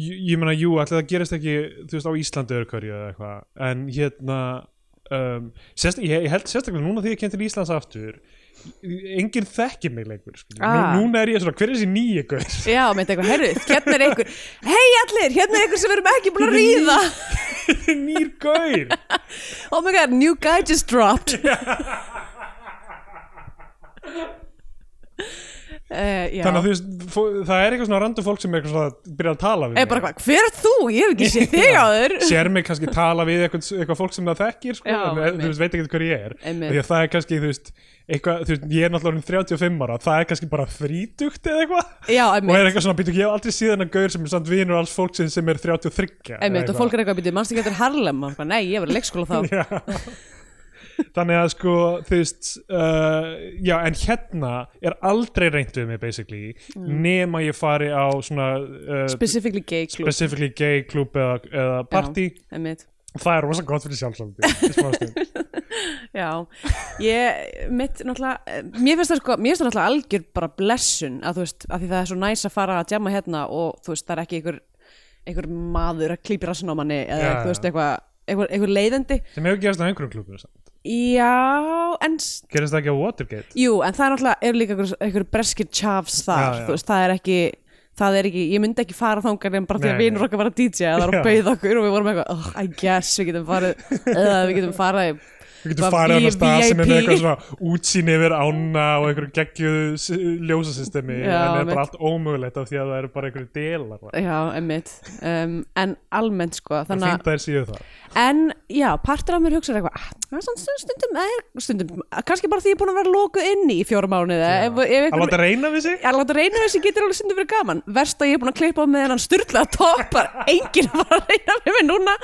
ég, ég meina, jú, allir það gerist ekki þú veist, á Íslandi örkverju eða eitthvað en hérna um, sérst, ég, ég held sérstaklega núna því ég kem til Íslands aftur enginn þekkir mig lengur sko. Ah. Nú, núna er ég svona, hver er þessi nýja gaur Já, með eitthvað, herru, hérna er einhver Hei allir, hérna er einhver sem við erum ekki búin að ríða nýr gaur Oh my god, new guy just dropped Eh, uh, Já þannig að þú veist, fó- það er eitthvað svona random fólk sem er eitthvað svona að byrja að tala við Eða Eh, bara hvað, hver er þú? Ég hef ekki séð þig áður sér mig kannski tala við eitthvað, eitthvað fólk sem það þekkir sko, Já, en, einmitt. þú veist, veit ekki hver ég er Einmitt. því að það er kannski, þú veist, eitthvað, þú veist ég er náttúrulega orðinn 35 ára, það er kannski bara þrítugt eða eitthvað Já, og einmitt, er eitthvað svona, býtu, ég hef aldrei síðan að gaur sem er samt vinur alls fólk sem, sem er 33 eða einmitt og eitthvað. fólk er eitthvað að byrja, mannstu ekki eftir Harlem og bara, nei, ég var í leikskóla þá Já. þannig að sko þú veist uh, já en hérna er aldrei reynt við mig basically Mm. nema ég fari á svona uh, Specifically gay club specifically gay klub eða, eða party Já, einmitt það er rosa gott fyrir sjálfsáldi í smástund Já, ég, mitt náttúrulega, eh, mér finnst það sko, mér finnst það náttúrulega algjör bara blessun að þú veist, að því það er svo næs að fara að djama hérna og þú veist, það er ekki einhver, einhver maður að klípi rassin á manni eða Já, þú veist, já. eitthvað, einhver, einhver leiðindi. sem hefur gerst á einhverjum klubum samt Já, en s- gerist það ekki á Watergate Jú, en það er náttúrulega, eru líka einhver, einhver breskir tjafs þar, Já, já. þú veist, það er ekki það er ekki, ég myndi ekki fara þangar en bara því að Nei, vinur nei. okkar var að DJ að það var Já. að bauða okkur og við vorum eitthvað, oh, I guess, við getum farið uh, við getum farið Við getum Bara farið á í þennan stað sem er með VIP. eitthvað svona útsýn yfir ána og einhverju geggjuðu ljósasystemi en Já, er mitt. bara allt ómögulegt af því að það eru bara einhverju delar það já, emmitt, um, en almennt sko, er þannig fínt að að þær séu það en já, partur af mér hugsaði eitthvað ah, það er svona stundum, stundum, eh, stundum kannski bara því ég er búin að vera lokuð inni í fjóra mánuði ef, ef að einhver, láta reyna við sig Ég láta reyna þessi getur alveg stundum verið gaman Verst að ég er búin að klippa á með hennan styrla toppar Enginn var að reyna með mig núna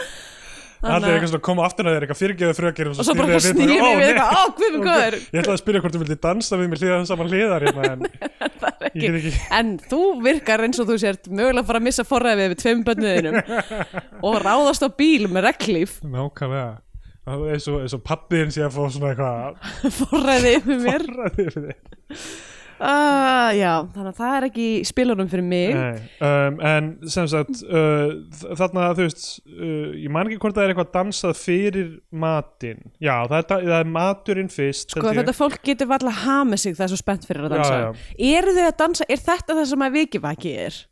allir að- eitthvað svona koma aftur að þeir eitthvað fyrirgeðu frökir Og svo bara snýr snýjum ég ég við, við eitthvað Á, "Ó, guðmur nei." góður ég ætlaði að spyrja hvort þú vildi dansa við mér hliðan saman hliðar hérna, en ég get ekki En þú virkar eins og þú sért mögulega að fara að missa forræðið við tveim bönnuðinum og ráðast á bíl með reglíf nákvæmlega Það er eins og, eins og pappiðin sé að fá svona eitthvað forræðið yfir mér forræði yfir þig. uh, Já, þannig að það er ekki í spilunum fyrir mig Nei, um, en sem sagt uh, þ- þarna þú veist uh, ég man ekki hvort það er eitthvað dansað fyrir matinn já það er, da- það er maturinn fyrst Sko, þetta fólk getur varla að hama sig það er svo spennt fyrir að Já, dansa já. Eru þau að dansa, er þetta það sem að vikivaki er?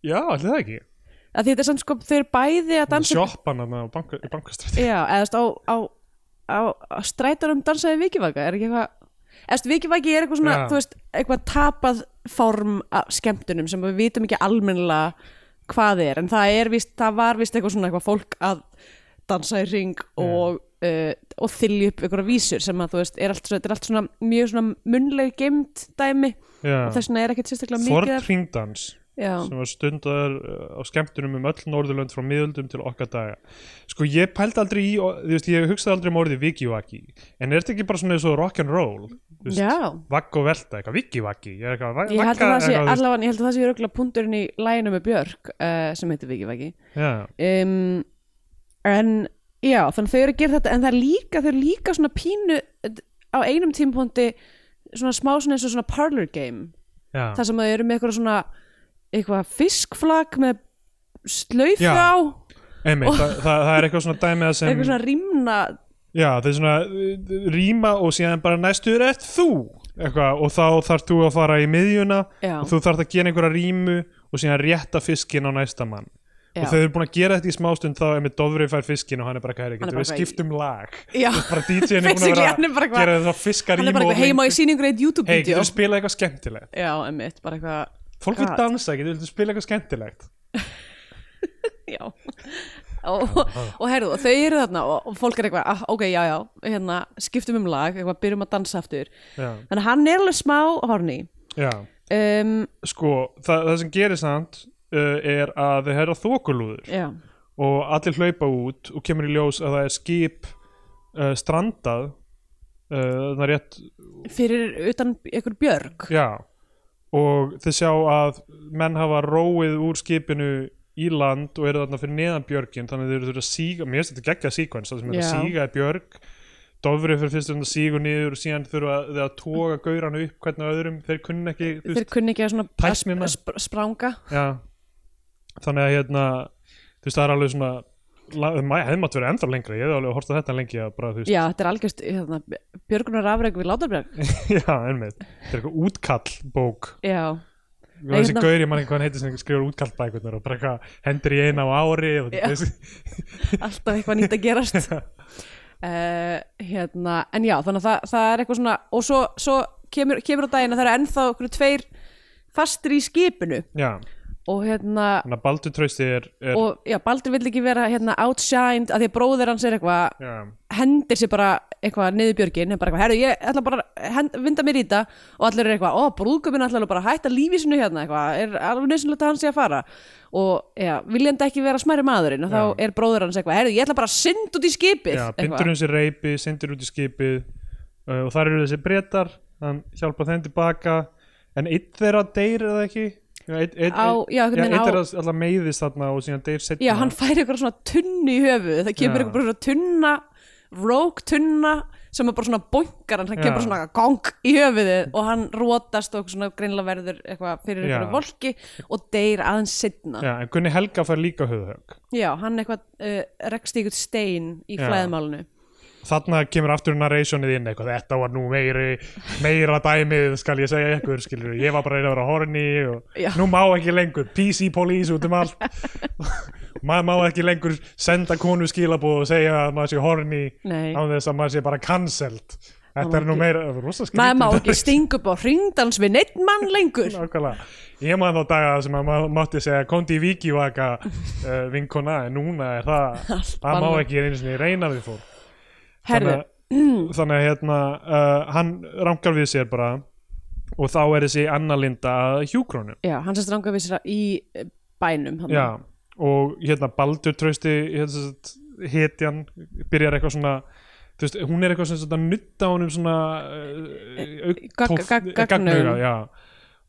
já allir það ekki að því þetta er samt sko þau eru bæði að dansa sjoppan þarna á banka, í bankastræti já, eða þú veist á, á, á, á strætarum dansaði vikivaka er ekki eitthvað eða þú veist, vikivaki er eitthvað svona Já. þú veist, eitthvað tapað form af skemmtunum sem við vitum ekki almennilega hvað er en það er víst, það var víst eitthvað svona eitthvað fólk að dansa í ring og, uh, og þylja upp einhverja vísur sem að þú veist, er allt, svo- þetta er allt svona mjög svona munlega gemd dæmi og já. þess vegna er ekkert sérstaklega mikið Ford af- Ringdans já, sem var stundaður uh, á skemmtunum um öll Norðurlönd frá miðöldum til okkar daga sko ég pældi aldrei í og- þú veist, ég hugsaði aldrei um orðið vikiwaki en er þetta ekki bara svona eins og rock'n'roll Þú veist, já. vagg og velta, eitthvað vikiwaki ég er eitthvað va- Ég held að vagga- það sé, eitthvað, þú veist. allavega, ég held að það sé röglega punkturinn í læginu með Björk uh, sem heitir Viki Vaki Já. um, en já, þannig að þau eru að gera þetta en það er líka, þau eru líka svona pínu eh, á einum tímpúndi svona smá svona eins og svona parlor game Já. þar sem þau eru með eitthvað svona eitthvað fiskflag með slaufu Já. á Einmitt, það, það, það er eitthvað svona dæmi að sem eitthvað svona rýmna já, það er svona uh, rýma og síðan bara næstur ert þú eitthvað, og þá þarf þú að fara í miðjuna Já. og þú þarf að gera einhverja rýmu og síðan rétta fiskinn á næsta mann Já. og þau eru búin að gera þetta í smástund þá er með Dofri fær fiskinn og hann er bara hægri Hann er getur bara við eitthvað í- skiptum lag Já. bara DJ-in er búin að Basically, vera hann er bara að eitthvað- gera þetta fiska hann er bara rýmu eitthvað heima í sýningur eitt hei, YouTube-vídeó getur við spila eitthvað skemmtilegt Já, emmitt, bara eitthvað fólk vil God. dansa, getur við spila eitthvað skemmtilegt já og, og heyrðu, og þau eru þarna og, og fólk er eitthvað, ah, ok, já, já hérna, skiptum um lag, eitthvað, byrjum að dansa aftur já, þannig að hann er alveg smá horni já. um, sko, það, það sem gerir samt uh, er að þau herra þokulúður já, og allir hlaupa út og kemur í ljós að það er skip uh, strandað uh, það er rétt, fyrir utan einhver björg já og þið sjá að menn hafa róið úr skipinu í land og eru þarna fyrir neðan björgin þannig að þeir eru þurfa að síga, mér finnst þetta geggja síkvens það sem er að Já. síga í björg dofrið fyrir fyrst um að sígu niður og síðan þurfa þau að toga gaurana upp hvernig öðrum, þeir kunna ekki þú þeir kunni ekki að svona að Tæknina. sp- spranga Já, þannig að hérna þú veist það er alveg svona la- ma- hefði mátt verið ennþá lengra, ég hefði alveg hort á þetta lengi að bara þú veist, já, þetta er algjörst hérna, björgunar afreg við Láðarbjörg já einmitt þetta er eitthvað útkall bók já, og þessi hérna- gaur, ég man ekki hvað hann heitir sem skrifur útkall bækurnar og bara eitthvað hendur í eina á ári og Já. þessi, alltaf eitthvað nýtt að gerast uh, hérna, en já þannig að það, það er eitthvað svona og svo, svo kemur, kemur á daginn að það eru ennþá okkur tveir fastir í skipinu já, og hérna þannig að Baldur trausti er, er og já, Baldur vill ekki vera hérna outshined að því að bróðir hans er eitthvað já, hendir sér bara eitthvað niður björgin er bara eitthvað, herru, ég ætla bara að hend, vinda mér í þetta og allir eru eitthvað, ó, brúðguminn ætla alveg bara að hætta lífi sinu hérna eitthvað, er alveg nöðsynlegt að hann sé að fara og já, viljandi ekki vera smæri maðurinn og þá er bróður hans eitthvað, herru, ég ætla bara að synda út í skipið já, um eitthvað. bindur hans í reipi sendir út í skipið uh, og þar eru þessi breytar, hann hjálpa þeim tilbaka, en eitt þeirra deyr eða ekki Já, einn- einn- Á- já, já, einhvern veginn eitt á- þeirra alltaf meiðist þarna og síðan deyr setna Já, hann fær eitthvað svona tunnu í höfuð það kemur Já. eitthvað bara svona tunna rók tunna sem er bara svona bonkar hann það Já. kemur bara svona gong í höfuðið og hann rótast og svona greinlega verður eitthvað fyrir Já. eitthvað volki og deyr aðeins sitna Já, Já, en Gunni Helga fær líka höfðhögg eh, hann eitthvað uh, rekst í eitthvað stein í Já. flæðmálinu þarna kemur aftur narrationið inn eitthvað, þetta var nú meiri meira dæmið skal ég segja ykkur skilur, ég var bara að reyna að vera horni og Já. nú má ekki lengur, PC police út um allt maður má ekki lengur senda konu skilabóð og segja að maður sé horni Nei. án þess að maður sé bara cancelled má þetta er nú ekki- meira, rosa skrítið maður má ekki stinga upp á hringdans við neitt mann lengur Nákvæmlega. Ég man þá daga sem að maður mátti segja Kondi Víkivaka uh, vinkona en núna er það Allt það má bannað. ekki einu sinni reyna við fólk herðu, þannig, að- þannig að hérna uh, hann rankar við sér bara og þá er þessi Anna Linda að hjúkrónu já, hann sem stranga við sér í eh, bænum hann. Já, og hérna Baldur trösti hérna, sem sagt, hetjan byrjar eitthvað svona þú veist, hún er eitthvað sem sagt að nutta honum svona uh, Gagg- tóf- gagg- gagnaugað, gagnaugum. já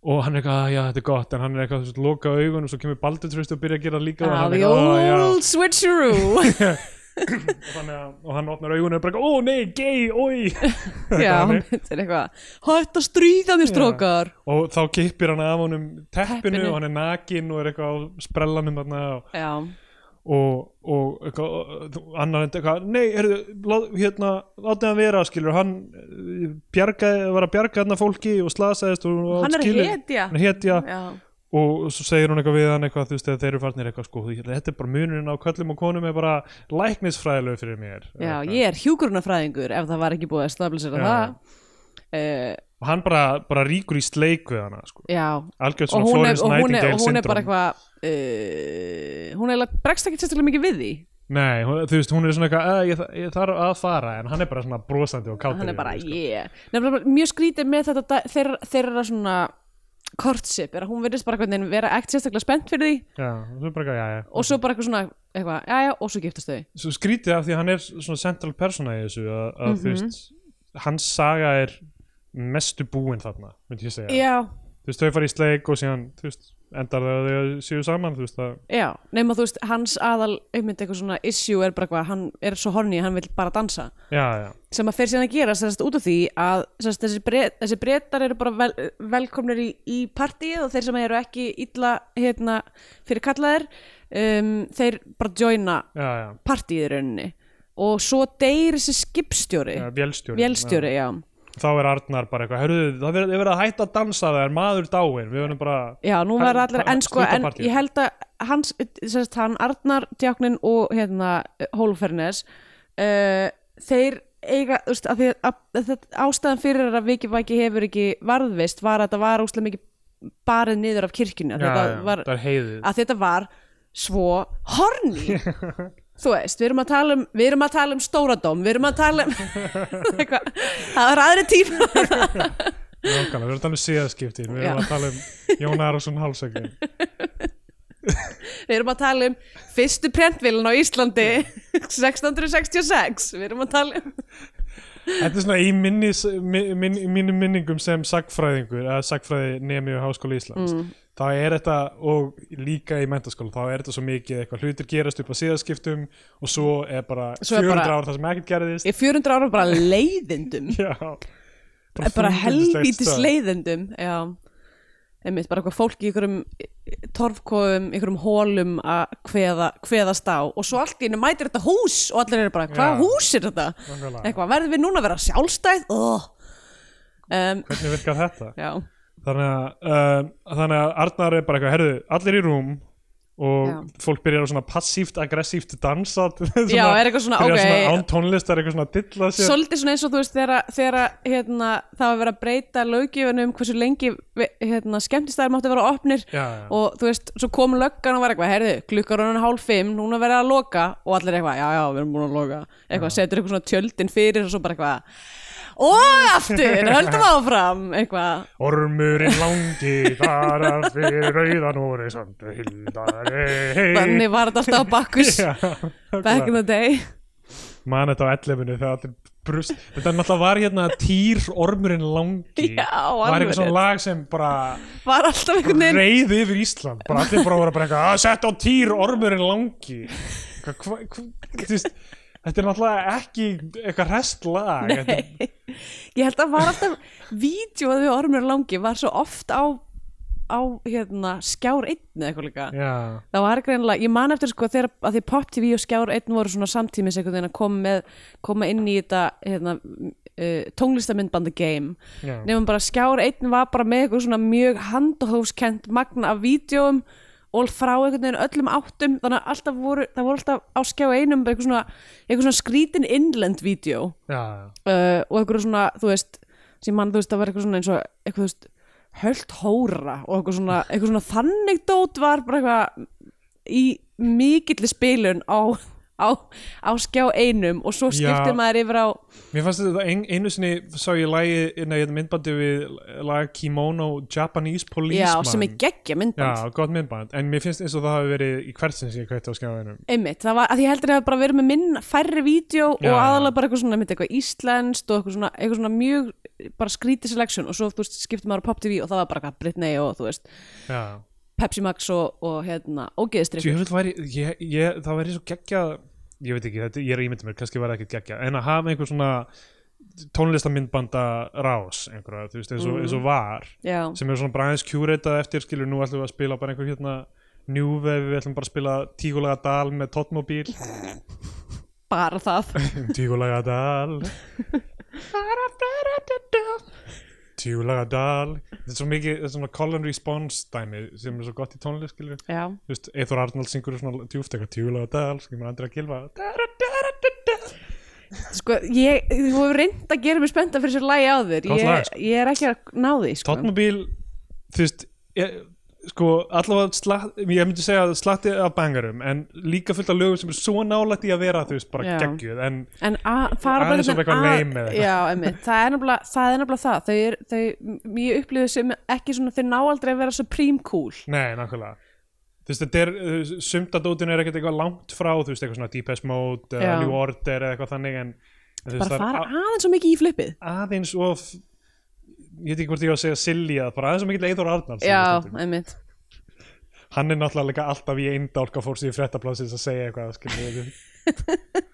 og hann er eitthvað, "Ah, já þetta er gott en hann er eitthvað, þú veist, loka augun og svo kemur Baldur trösti og byrjar að gera það líka og Ah, hann er the eitthvað, "Ó, já." old switcheroo og, þannig að, og hann opnar augun og er bara, eitthvað, ó nei, gay, oi já, Þannig. þetta er eitthvað hætt að stríða mér strókar og þá kippir hann af honum teppinu, Teppinu. og hann er nakin og er eitthvað á sprellanum þarna og já, og, og eitthvað, annar endur eitthvað, nei, heyrðu, lá- hérna, látið hann vera, skilur, hann eh, bjargaði, var að bjarga hérna fólki og slasaðist og og Hann er skilur- hetja. hann er hetja, já, og svo segir hún eitthvað við hann eitthvað, þú veist, þegar þeir eru farnir eitthvað, sko, þú- þetta er bara munurinn á köllum og konum er bara læknisfræðilegu fyrir mér. já Eitthvað. ég er hjúgrunafræðingur ef það var ekki búið að stabilisera Já. það uh, Og Hann bara, bara ríkur í sleik við hana, sko, já, algjörð svona og hún, er, Florence og, hún er, Nightingale syndrom. og hún er bara eitthvað uh, hún er bregst ekki sérstaklega mikið við því Nei, hún, þú veist, hún er svona eitthvað, "Eh, ég, þa- ég þarf að fara, en hann er bara svona brosandi og kátur. hann er bara sko. yeah Nefnilega, bara mjög skrítið með þetta da- þeirra, þeirra svona courtship er að hún virðist bara hvernig vera ekkert sérstaklega spennt fyrir því Já, svo bara eitthvað, já, já. og svo bara eitthvað svona eitthvað, já já, og svo giftast þau svo skrítið af því að hann er svona central persona í þessu að, að Mhm. þú veist hans saga er mestu búin þarna, myndi ég segja já, þú veist, þau fara í sleik og síðan þú veist, endar það að þau séu saman þú veist, að, já, nema þú veist hans aðal einmitt eitthvað svona issue er bara eitthvað hann er svo horny, hann vil bara dansa já, já, sem að fer síðan að gera sérst út af því að sérst, þessi, bret, þessi brettar eru bara vel, velkomnir í, í partíið og þeir sem eru ekki illa hérna, fyrir kallaðir um, þeir bara joina já, já, partíið í rauninni og svo deyr þessi skipstjóri já vélstjóri vélstjóri, já. já. þá er Arnar bara eitthvað, herruðu, það verður verið að hætta að dansa það er maður dáin, við verðum bara já, nú Hann- verður allir hann- en sko, slúta en partíið. ég held að hans, sérst, hann Arnar Djáknin og hérna Hólfernes uh, þeir eiga, þú veist, að því að, að, að ástæðan fyrir að Viki Vaki hefur ekki varðvist var að þetta var úslega mikið barið niður af kirkjunni að já, þetta, já, var, það er heiðið að þetta var svo horny þú veist, við erum að tala um við erum að tala um stóradóm, við erum að tala um eitthvað, það er aðri tíma Nákvæmlega, við erum að tala um síðaskipti við erum Já. að tala um Jón Arason hálsækni Við erum að tala um fyrstu prentvillin á Íslandi 1666 Við erum að tala um Þetta er svona í minnis, min, min, mínum minningum sem sagfræðingur eða sagfræði nemi á Háskóla Íslands Mm. þá er þetta, og líka í mentaskóla þá er þetta svo mikið eitthvað hlutir gerast upp á síðaskiptum og svo er bara Svo er 400 bara- ár það sem ekkert gerðist Í 400 ára bara leiðindum Já, Bara þunglyndisleg helvítis stöð. leiðindum Já Einmitt, bara eitthvað fólk í einhverjum eh, torfkofum, einhverjum hólum að kveða, kveðast á og svo allt í henni mætir þetta hús og allir eru bara, Já. hvað hús er þetta? Nákvæmlega. Eitthvað, verðum við núna að vera sjálfstæð? Oh. Um, Hvernig virkar þetta? já, Þannig að, uh, þannig að Arnar er bara eitthvað, herðu, allir í rúm og Já. fólk byrjar að svona passíft, aggressíft dansa Já, er eitthvað svona, byrjar ok. svona án tónlistar, eitthvað svona að dilla sér svolítið svona eins og þú veist þegar, þegar hérna, það var verið að breyta löggjöfinu um hversu lengi ve- hérna, skemmtistæðar máttu vera opnir Já, já. og þú veist, svo kom löggan og var eitthvað herðu, klukkar hann hálf fimm, núna verið að loka og allir eitthvað, já, já, við erum búin að loka eitthvað, setur eitthvað svona tjöldin fyrir og svo bara eitthvað og aftur, höldum áfram eitthvað, Ormurinn langi þar að fyrir rauðan úr í sandu hildar þannig var þetta alltaf á bakkus back in the day Man þetta á ellefinu þegar allir brust Þetta náttúrulega var hérna týr ormurinn langi Já, Var alveg eitthvað rétt. svona lag sem bara var alltaf einhvern veginn reyði yfir Ísland bara allir bara voru bara eitthvað að setja á týr ormurinn langi hva, hva, hva, þú veist, Þetta er náttúrulega ekki eitthvað restlag Þetta er Ég held að var alltaf vídjóð við Ormur Langi var svo oft á á hérna, skjár einn eða eitthvað líka já, það var greinlega, ég man eftir sko þegar að því Pop TV og Skjár 1 voru svona samtímis einhvern veginn að koma, með, koma inn í þetta hérna, uh, tónlistamindbanda game já, nefnum bara Skjár 1 var bara með eitthvað svona mjög handahófskent magna af vídjóum og frá einhvern veginn öllum áttum þannig að alltaf voru, það voru alltaf á Skjár 1 um eitthvað svona, eitthvað svona skrítin innlend vídjó já, uh, og eitthvað svona, þú veist sem mann, þú veist, það var eitthvað svona eins og eitthvað, þú veist, höllt hóra og eitthvað svona, eitthvað svona þannig dót var bara eitthvað í mikilli spilun á, á, á skjá einum og svo Já. skiptir maður yfir á Mér fannst þetta ein, einu sinni sá ég lagi, nei, þetta myndbandi við lag Kimono Japanese Policeman já, sem er geggja myndband Já, gott myndband, en mér finnst eins og það hafi verið í hvert sinn sem ég kveikti á skjáðinum einmitt, það var, að ég heldur að það hafi bara verið með minn færri vídeo og Já. aðalega bara eitthvað svona einmitt, eitthvað íslenskt og eitthvað svona, eitthvað svona mjög bara skrítið selection og svo þú veist, skiptir maður á Pop TV og það var bara eitthvað Britney og þú veist, Já, Pepsi Max og, og hérna, og Djú, ég vil væri, ég, ég, það væri svo geggja ég veit ekki, þetta, ég er ímyndið mér, kannski væri ekkert geggja en að hafa einhver svona tónlistamindbanda rás einhverja, þú veist, eins og, eins og var já, sem er svona bara aðeins kjúreitað eftir skilur nú ætlum við að spila bara einhver hérna New Wave, við ætlum bara að spila tígulega dal með Totmobil bara það tígulega dal tígulega dal þetta er svo mikið, þetta er svona call and response dæmi sem er svo gott í tónlist skilur Já, þú veist, Eithor Arnold syngur svona djúft eitthvað tjúlega dal, skimur Andri að gilfa sko, ég, þú hefur reynd að gera mér spennta fyrir sér lægi á þér Gott ég, lag, sko. ég er ekki að ná því, sko Totmobil, þú veist ég, sko, allavega slatt ég myndi segja að slatti af bangarum en líka fullt af lögum sem er svo nálægt í að vera þú veist, bara Já. geggjuð en En að fara bara Aðeins of eitthvað að- lame eða eitthvað. Já, einmitt, það er nefnilega það, er nefnilega það. Þau, er, þau, ég upplifði sem ekki svona, þau ná aldrei að vera supreme cool nei, nákvæmlega þú veist, þetta er, uh, sumt að dótinu er ekkert eitthvað langt frá, þú veist, eitthvað svona Deepest Mode Já. eða New Order eða eitthvað þannig en, en þú veist, Bara það er fara a- aðeins svo mikið í flippið aðeins of ég veit ekki hvort ég á að segja silly eða bara aðeins of mikill Eithor Arnold sem Já, við stundum. einmitt hann er náttúrulega líka alltaf í einn dálka fórsíðu fréttablasins að segja eitthvað skilur við ekki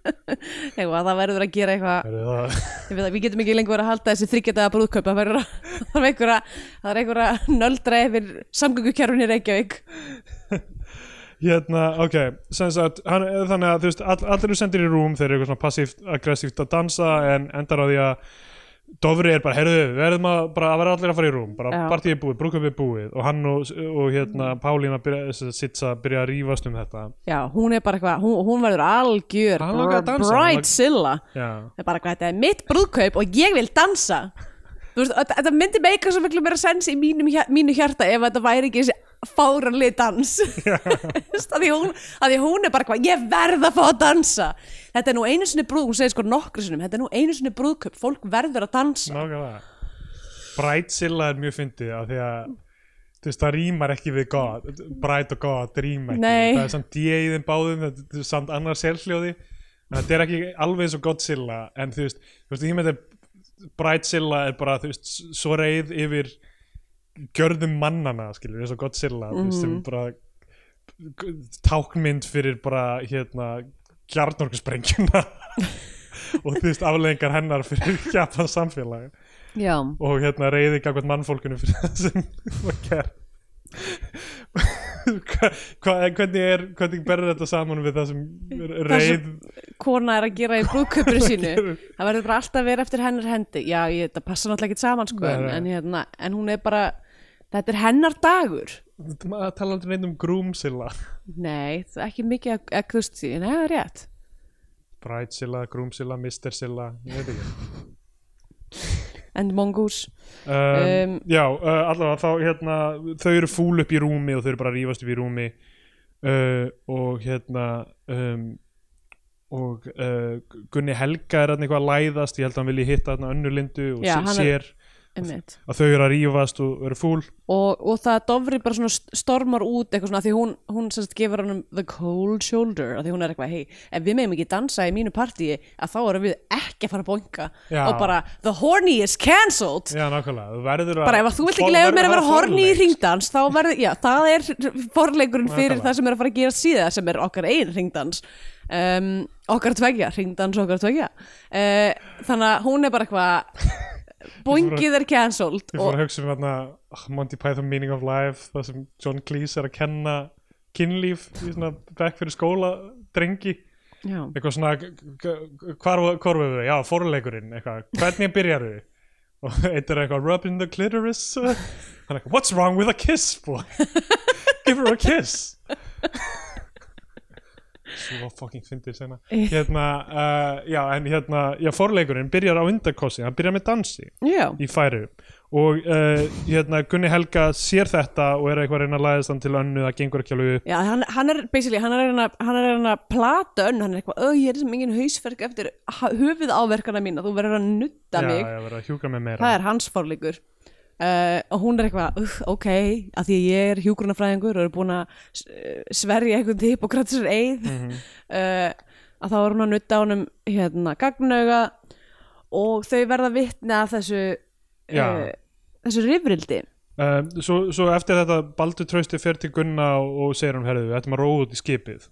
Eitthvað, það verður að gera eitthvað Heyrðu, það- ég veit að Við getum ekki lengur verið að halda þessi þryggjadaða brúðkaup Það verður að, það er einhverja, það er einhverja nöldra yfir samgöngukjærunni Reykjavík hérna, ok sem sagt, hann, þannig að þú veist all, allir eru sendir í rúm, þeir eru eitthvað svona passíft aggressíft að dansa en endar á því að Dofri er bara, heyrðu, við verðum að bara að vera allir að fara í rúm, bara Já. partíið er búið, brúkabið er búið og hann og, og hérna Pálína byrja, sem sagt, sitsa byrja að rífast um þetta Já, hún er bara eitthvað, hún, hún verður algjör Hann langar að br- dansa, hann Bright langar- Silla já, Það er bara hvað, þetta er mitt brúðkaup og ég vil dansa Þú veist, þetta þetta myndi meika svo miklu meira sens í mínum, hja- mínu hjarta ef þetta væri ekki þessi fáranlið dans að því, hún, að því hún er bara hvað, ég verð að fá að dansa Þetta er nú einu sinni brúð, hún segir sko nokkru sinum Þetta er nú einu sinni brúðkaup, fólk verður að dansa nákvæmlega Bright Silla er mjög fyndið af því að þú veist, það rýmar ekki við God Bright og God rýma ekki Nei. það er samt D í þeim báðum það er samt annar selhljóði þetta er ekki alveg eins og Godzilla en þú veist, þú veist, ég með þetta Bright Silla er bara, þú veist, svo reið yfir gjörðum mannana skilur, eins og Godzilla þú veist, sem bara tákmynd fyrir bara hérna kjarnorkusprengjuna og þú veist afleðingar hennar fyrir Japans samfélag Já, og hérna reyði gangvært mannfólkunum fyrir það sem var gert Hva, hva, hvernig er hvernig berður þetta saman við það sem reyð kona er að gera í brúðkaupinu sínu það verður bara alltaf að vera eftir hennar hendi já, ég, það passa náttúrulega ekki saman sko, en, Nei, nei. en, hérna, en hún er bara þetta er hennar dagur maður tala aldrei neitt um grúmsilla nei, það er ekki mikið að, að þú veist, nei, það er rétt brætsilla, grúmsilla, mistersilla ég veit ekki en mongús um, Um, já, uh, allavega þá hérna þau eru fúl upp í rúmi og þau eru bara að rífast upp í rúmi uh, og hérna um, og uh, Gunni Helga er hann eitthvað að læðast ég held að hann vilji hitta hann önnu lindu og Já, já, hann er- sér einmitt. að þau eru að rífast og eru fúl og, og það dofri bara svona st- stormar út eitthvað svona, af því hún, hún sérst gefur hann the cold shoulder, af því hún er eitthvað hei, ef við meðum ekki dansa í mínu partíi að þá erum við ekki að fara að boinga Já. og bara, the horny is cancelled já, nákvæmlega, þú verður að bara ef að þú vilt ekki Þú leiða verður mér að vera hafa horni í forleik. ringdans þá verður, já, það er forleikurinn fyrir Nákvæmlega. það sem er að fara að gera síða sem er okkar einn ringdans Eh, um, okkar tvegja, ringdans okkar tvegja uh, þannig að hún er bara eitthvað bóngið er cancelled Ég fór og að hugsa um þarna ah, Monty Python Meaning of Life það sem John Cleese er að kenna kynlíf í svona bekk fyrir skóla drengi, já, eitthvað svona g- g- hvar, hvar við við, já, fórleikurinn eitthvað, hvernig byrjar við og eitt er eitthvað, rubbing the clitoris hann er eitthvað, what's wrong with a kiss boy give her a kiss svo fucking fyndið sena hérna, uh, já, en hérna já, fórleikurinn byrjar á undarkossi hann byrjar með dansi já, í færu og uh, hérna, Gunni Helga sér þetta og er eitthvað að reyna að læðast hann til önnu það gengur ekki alveg upp já hann, hann er basically, hann er að reyna- hann er að reyna að plata önn, hann er eitthvað, öð, ég er sem engin hausverk eftir höfuð áverkana mína, þú verður að nutta já, mig ég verið að hjúka með meira það er hans fórleikur uh, og hún er eitthvað, uh, ok að því að ég er hjúgrunafræðingur og er búin að uh, sverja einhvern til hippokratisar eið Mhm. uh, að þá er hún að nutta honum hérna gagnauga og þau verða vitni af þessu eh, Já. þessu rifrildi um, svo, svo eftir þetta Baldur Trausti fer til Gunna og, og segir hún herðu, við ættum að róa út í skipið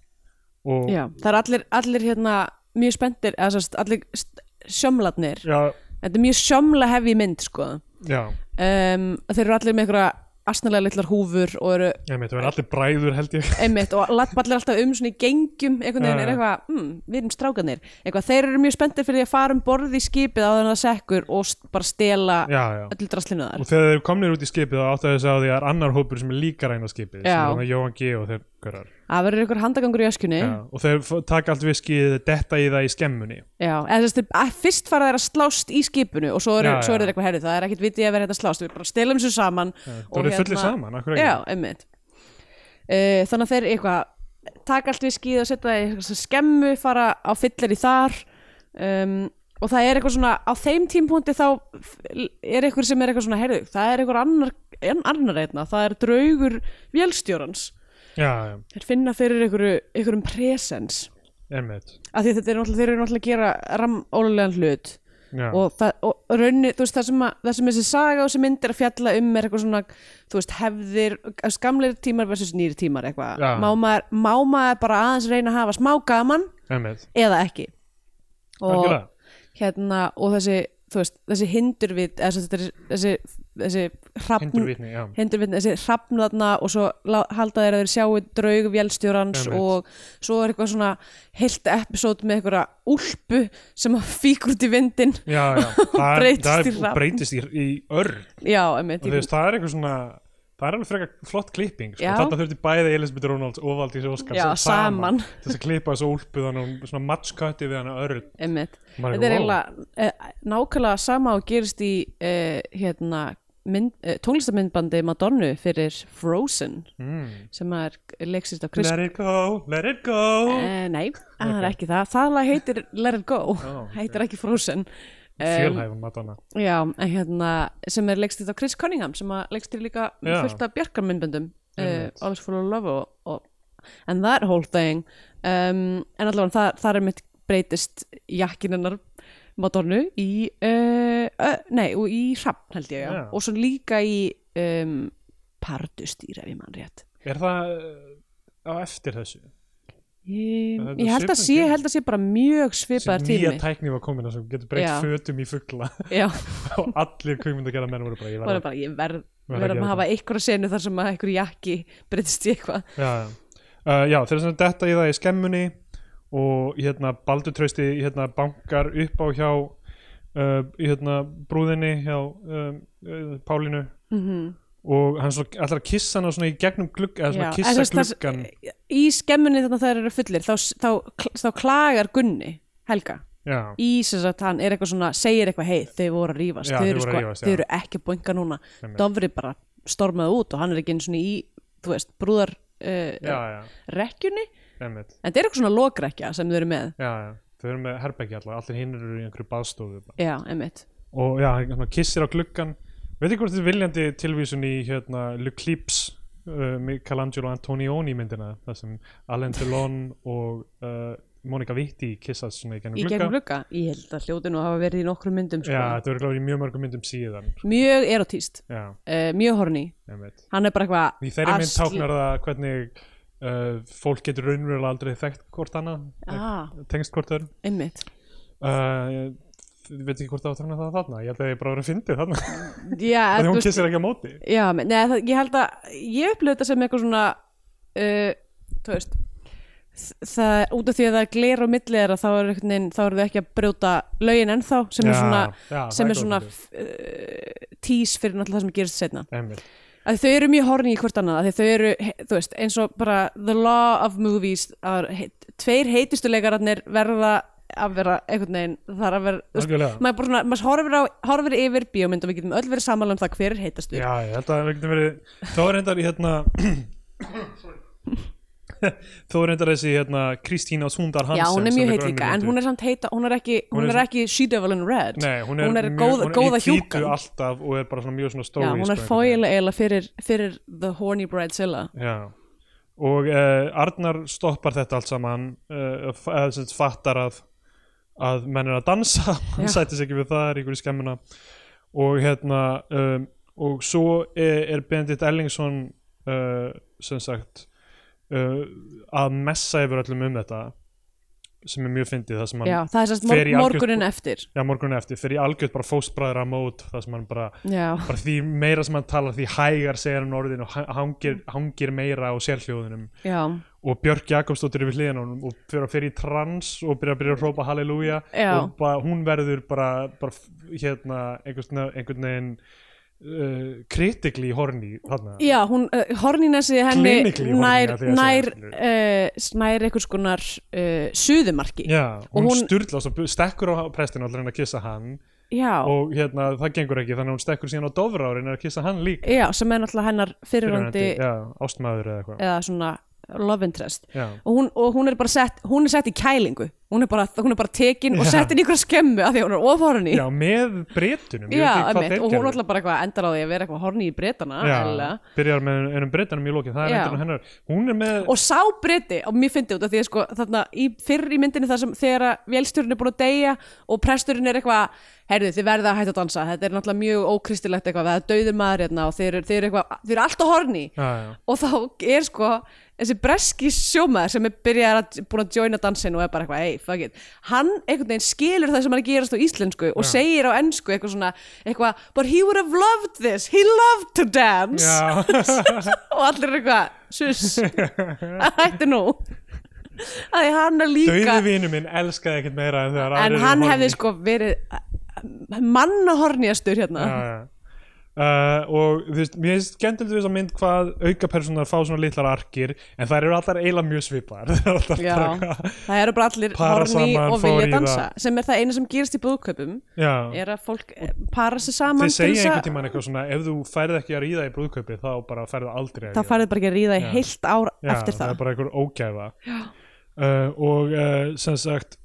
og já, Já. það er allir, allir hérna mjög spenntir, eða sérst allir st- sjómlarnir, já, þetta er mjög sjómla hefi mynd sko já um, þeir eru allir með einhverja astnalega litlar húfur og eru meit, það verið allir bræður held ég einmitt og lappallir alltaf um svona í gengjum einhvern veginn Já, er já. eitthvað, mm, við erum strákanir eitthvað, þeir eru mjög spenntir fyrir því að fara um borð í skipið á þannig að sekkur og st bara stela já, já öllu draslinu þar Og þegar þeir komnir út í skipið þá áttaðu þess að því að það er annar hópur sem er líka ræna skipið sem er Já. hann að Jóhann G og þeir görar það verður einhver handagangur í öskjunni já, Já, og þeir f- taka allt viskið detta í það í skemmunni eða þess að að fyrst fara þeir að slást í skipinu og svo eru, Já, svo eru já. þeir eitthvað herrið það er ekkit vitið að vera hérna að slást, við bara stelum þessu saman hérna Það voru fullir saman, akkur ekki já, einmitt uh, þannig að þeir eitthvað taka allt viskið og setja það í eitthvað skemmu fara á fyllir í þar um, og það er eitthvað svona á þeim tímpúndi þá f- er eitthvað sem er eitthvað svona heyrðu, það er eitthvað annar, en- annar einna, það er draugur vélstjórans, já, já. þeir finna fyrir einhverju, einhverjum presens, Einmitt. af því þetta er náttúrulega þeir eru náttúrulega að gera ramólulegan hlut Já. og, það, og raunni, þú veist, það sem, að, það sem þessi saga og þessi mynd er að fjalla um er eitthvað svona, þú veist, hefðir skamleir tímar versus nýri tímar eitthvað Já. má maður, má maður bara aðeins reyna að hafa smá gaman Einmitt. eða ekki og, Algjörlega. hérna, og þessi, þú veist, þessi hindurvit eða þessi, þessi, þessi hrafn- Hindurvitni, já. hindurvitni, þessi hrafn þarna og svo lá- halda þeir að þeir sjáu draug vélstjórans Einmitt. og svo er eitthvað svona heilt episód með einhverja úlpu sem að fíkur út í vindin Já, já. Það, er- Breytist það í er, hrafn. breytist í, í örn Já, emmitt, og þú veist, það er eitthvað svona það er alveg frekar flott klipping sko. Já. þetta þurfti bæði Elisabeth Ronalds og Valdís Óskars Já, saman. til þess að klippa þessu úlpuðan og svona matchkötti við hann örn emmitt. Maður er Þetta wow. er eiginlega eh, nákvæmlega sama og gerist í eh, hérna, mynd, eh, tónlistamindbandi Madonnu fyrir Frozen mm. sem er leiksist á Chris Let it go, let it go Eh, nei, það er ekki það. Það lag heitir Let It Go, Oh, ok. heitir ekki Frozen. fjölhæfum Madonna Já, en hérna, sem er leikstýrt á Chris Cunningham, sem að leikstýr líka Já. fullt af bjarkarmyndböndum, uh, Einmitt. Always Full of Love og, og and that whole thing. Um, en allavega, það, það er mitt breytist jakkinennar Madonnu í, uh, uh, nei, og í hrappn held ég, já. Já. og svo líka í um, pardustýr ef ég mann rétt. er það uh, á eftir þessu Ég, Það er ég held að svipað sé, tími. held að sé bara mjög sem svipaðar nýja tími. tækni var komin sem getur breytt Já. fötum í fuggla Já, og allir kvikmynd að gera menn voru bara, ég það verð er bara, ég verð, Verð að verð að gera hafa einhverja senu þar sem að einhver jakki breytist í eitthvað. já, já. Uh, já þeir eru svona detta í það í skemmunni og hérna Baldur trausti hérna bankar upp á hjá uh, hérna brúðinni hjá um, uh, Pálinu Mhm. og hann svo allar að kissa hana svona í gegnum glugg eða svona Já, en kissa þess- þess- gluggan Í skemmunni þannig að það eru fullir, þá, þá, þá klagar Gunni, Helga, já, í sem sagt hann er eitthvað svona, segir eitthvað, hei, þau voru að rífast, Já, þau þau eru, voru að sko, rífast, þau já. eru ekki að boinga núna. Einmitt. Dofri bara stormaði út og hann er ekki einu svona í, þú veist, brúðar já, uh, já, rekkjunni. emmitt En það er eitthvað svona lokrekja sem þau eru með. já, já, þau eru með herbergi allar allir hinn eru í einhverju baðstofu bara. Já, emmitt. og já, hann hann kissir á gluggan veit ekki hvort þetta er viljandi tilvísun í hérna L'Eclipse uh, Michelangelo Antonioni myndina það sem Alain Delon og uh, Monica Vitti kissast svona í gennum Í glugga gegnum glugga. Ég held að hljóti nú að hafa verið í nokkrum myndum, sko. já, þetta verður gláður í mjög mörgum myndum síðan Mjög erotíst, já, uh, mjög horni. einmitt Hann er bara eitthvað... í þeirri mynd asl- táknar það hvernig uh, fólk getur raunverulega aldrei þekkt eh, hvort annað Ah, tengst hvort öðrum einmitt. uh, ég veit ekki hvort það var tæknað það þarna ég held að ég bara verið að fyndi þarna já, þannig þú hún veist- kissir ekki á móti Já, men- nei, það, ég held að ég upplöðu þetta sem eitthvað svona uh, þú veist þ- það, út af því að það er gler á milli þeirra þá er einhvern veginn, þá erum við ekki að brjóta lögin ennþá, sem er Já, svona já, það sem er er svona góð uh, tís fyrir náttúrulega það sem gerist setna Emil að þau eru mjög horni í hvort annað að þau eru, he- þú veist, eins og bara the law of movies að heit, tveir heitustu leikararnir verða að vera einhvern veginn það er að vera, þú veist, Algjörlega. maður, bara svona, maður horfir, á, horfir yfir bíómynd og við getum öll verið sammála um það hver er heitastur Já, ég held að það getur verið þá er reyndar í hérna þá er reyndar þessi hérna Kristína Sundar Hansen Já, hún er mjög heit heitlíka líka, en hún er samt heita, hún er ekki, hún Hún er er sem- ekki She Devil in Red, Nei, hún er, mjög- góð, hún er góða í hvítu hjúkan alltaf og er bara svona mjög svona stóri Já, hún er fóilega eiginlega fyrir, fyrir The Horny Bridezilla Já, og uh, Arnar stoppar þetta allt saman uh, eða sem sagt fattar að að menn er að dansa hann Já. sættis ekki við það, er ykkur í skemmuna og hérna um, og svo er, er Bendit Ellingsson uh, sem sagt uh, að messa yfir öllum um þetta sem er mjög fyndið það sem hann Já, það er sérst Fer mor í algjört- morgunin eftir Já, morgun eftir, fyrir algjörð bara fóstbræðra mót, það sem hann bara Já, bara því meira sem hann talar því hægar segir hann orðin og ha- hangir, hangir meira á sérhljóðunum já, og Björk Jakobsdóttir er við hliðan á honum og fyrir að fyrir í trans og byrja að byrja að hrópa halleluja Já. og bara, hún verður bara, bara f- hérna einhvern, einhvern veginn uh, kritikli í horni þarna já, hún, uh, horninesi henni Clinically horny, nær, að því að nær, segja, uh, nær einhvers konar uh, suðumarki Já, Og hún, hún hún- styrlast og bu- stekkur á prestinu og reyna að kissa hann Já, og hérna það gengur ekki þannig að hún stekkur síðan á dofra og reyna að kissa hann líka já, sem er náttúrulega hennar fyrirvandi Fyrirverandi, já, ástmaður eða eitthvað eða svona love interest Já. og hún, og hún er bara sett, hún er sett í kælingu hún er bara, hún er bara tekin og Já. sett inn í ykkur skemmu af því að hún er ofhorni Já, með breytunum einmitt, og hún alltaf bara eitthvað endar á því að vera eitthvað horni í breytana Já, byrjar með einum breytanum í lokin það er Já. endur hennar, hún er með og sá breyti, og mér fyndi út af því að sko, þarna, í, fyrr í myndinni þar sem þegar að vélstjórinn er búin að deyja og presturinn er eitthvað, heyrðu þið verða að hætta að dansa þetta er náttúrulega mjög ókristilegt eitthvað það er dauður maður hérna og þeir eru, þeir eru eitthvað þeir eru alltaf horni já, já. og þá er sko þessi breski sjómaður sem er byrjar að búin að joina dansin og er bara eitthvað, hey, fuck it hann einhvern veginn skilur það sem hann er að gerast á íslensku og segir á ennsku eitthvað svona eitthvað, but he would have loved this he loved to dance Já, og allir eru eitthvað, sus hættu nú að því hann er líka dauði vinnu minn elskaði ekkert meira en þegar en aðrir hann eru hefði horfnir. sko verið mannahorniastur hérna Já, já. Uh, og þú veist, mér finnst skemmtilegt við þess að mynd hvað aukapersonar fá svona litlar arkir en þær eru allar eiginlega mjög svipar Já, það eru bara allir Para horni saman, og fór vilja í dansa sem er það eina sem gerist í búðköpum já. er að fólk eh, para sig saman þið til segja þess einhvern að tímann eitthvað svona ef þú færð ekki að ríða í brúðkaupi þá bara færðu aldrei að þá ríða. farið bara ekki að ríða í heilt ár Já, eftir er það bara einhver ógæfa uh, og uh, sem sagt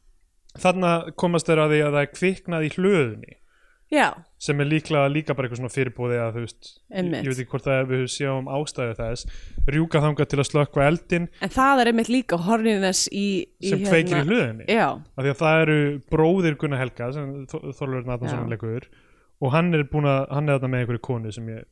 þarna komast þeir að því að það er kviknað í hlöðunni Já, sem er líklega líka bara eitthvað svona fyrirbúði að þú veist, ég, Einmitt. ég veit ekki hvort það er við sjáum ástæðu þess, rjúka þangað til að slökkva eldin en það er einmitt líka horniness í, í hérna- sem kveikir í hlöðinni Já, af því að það eru bróðir Gunnar Helga sem Þorlur Natansson Já. leikur og hann er búin að, hann er þarna með einhverju konu sem ég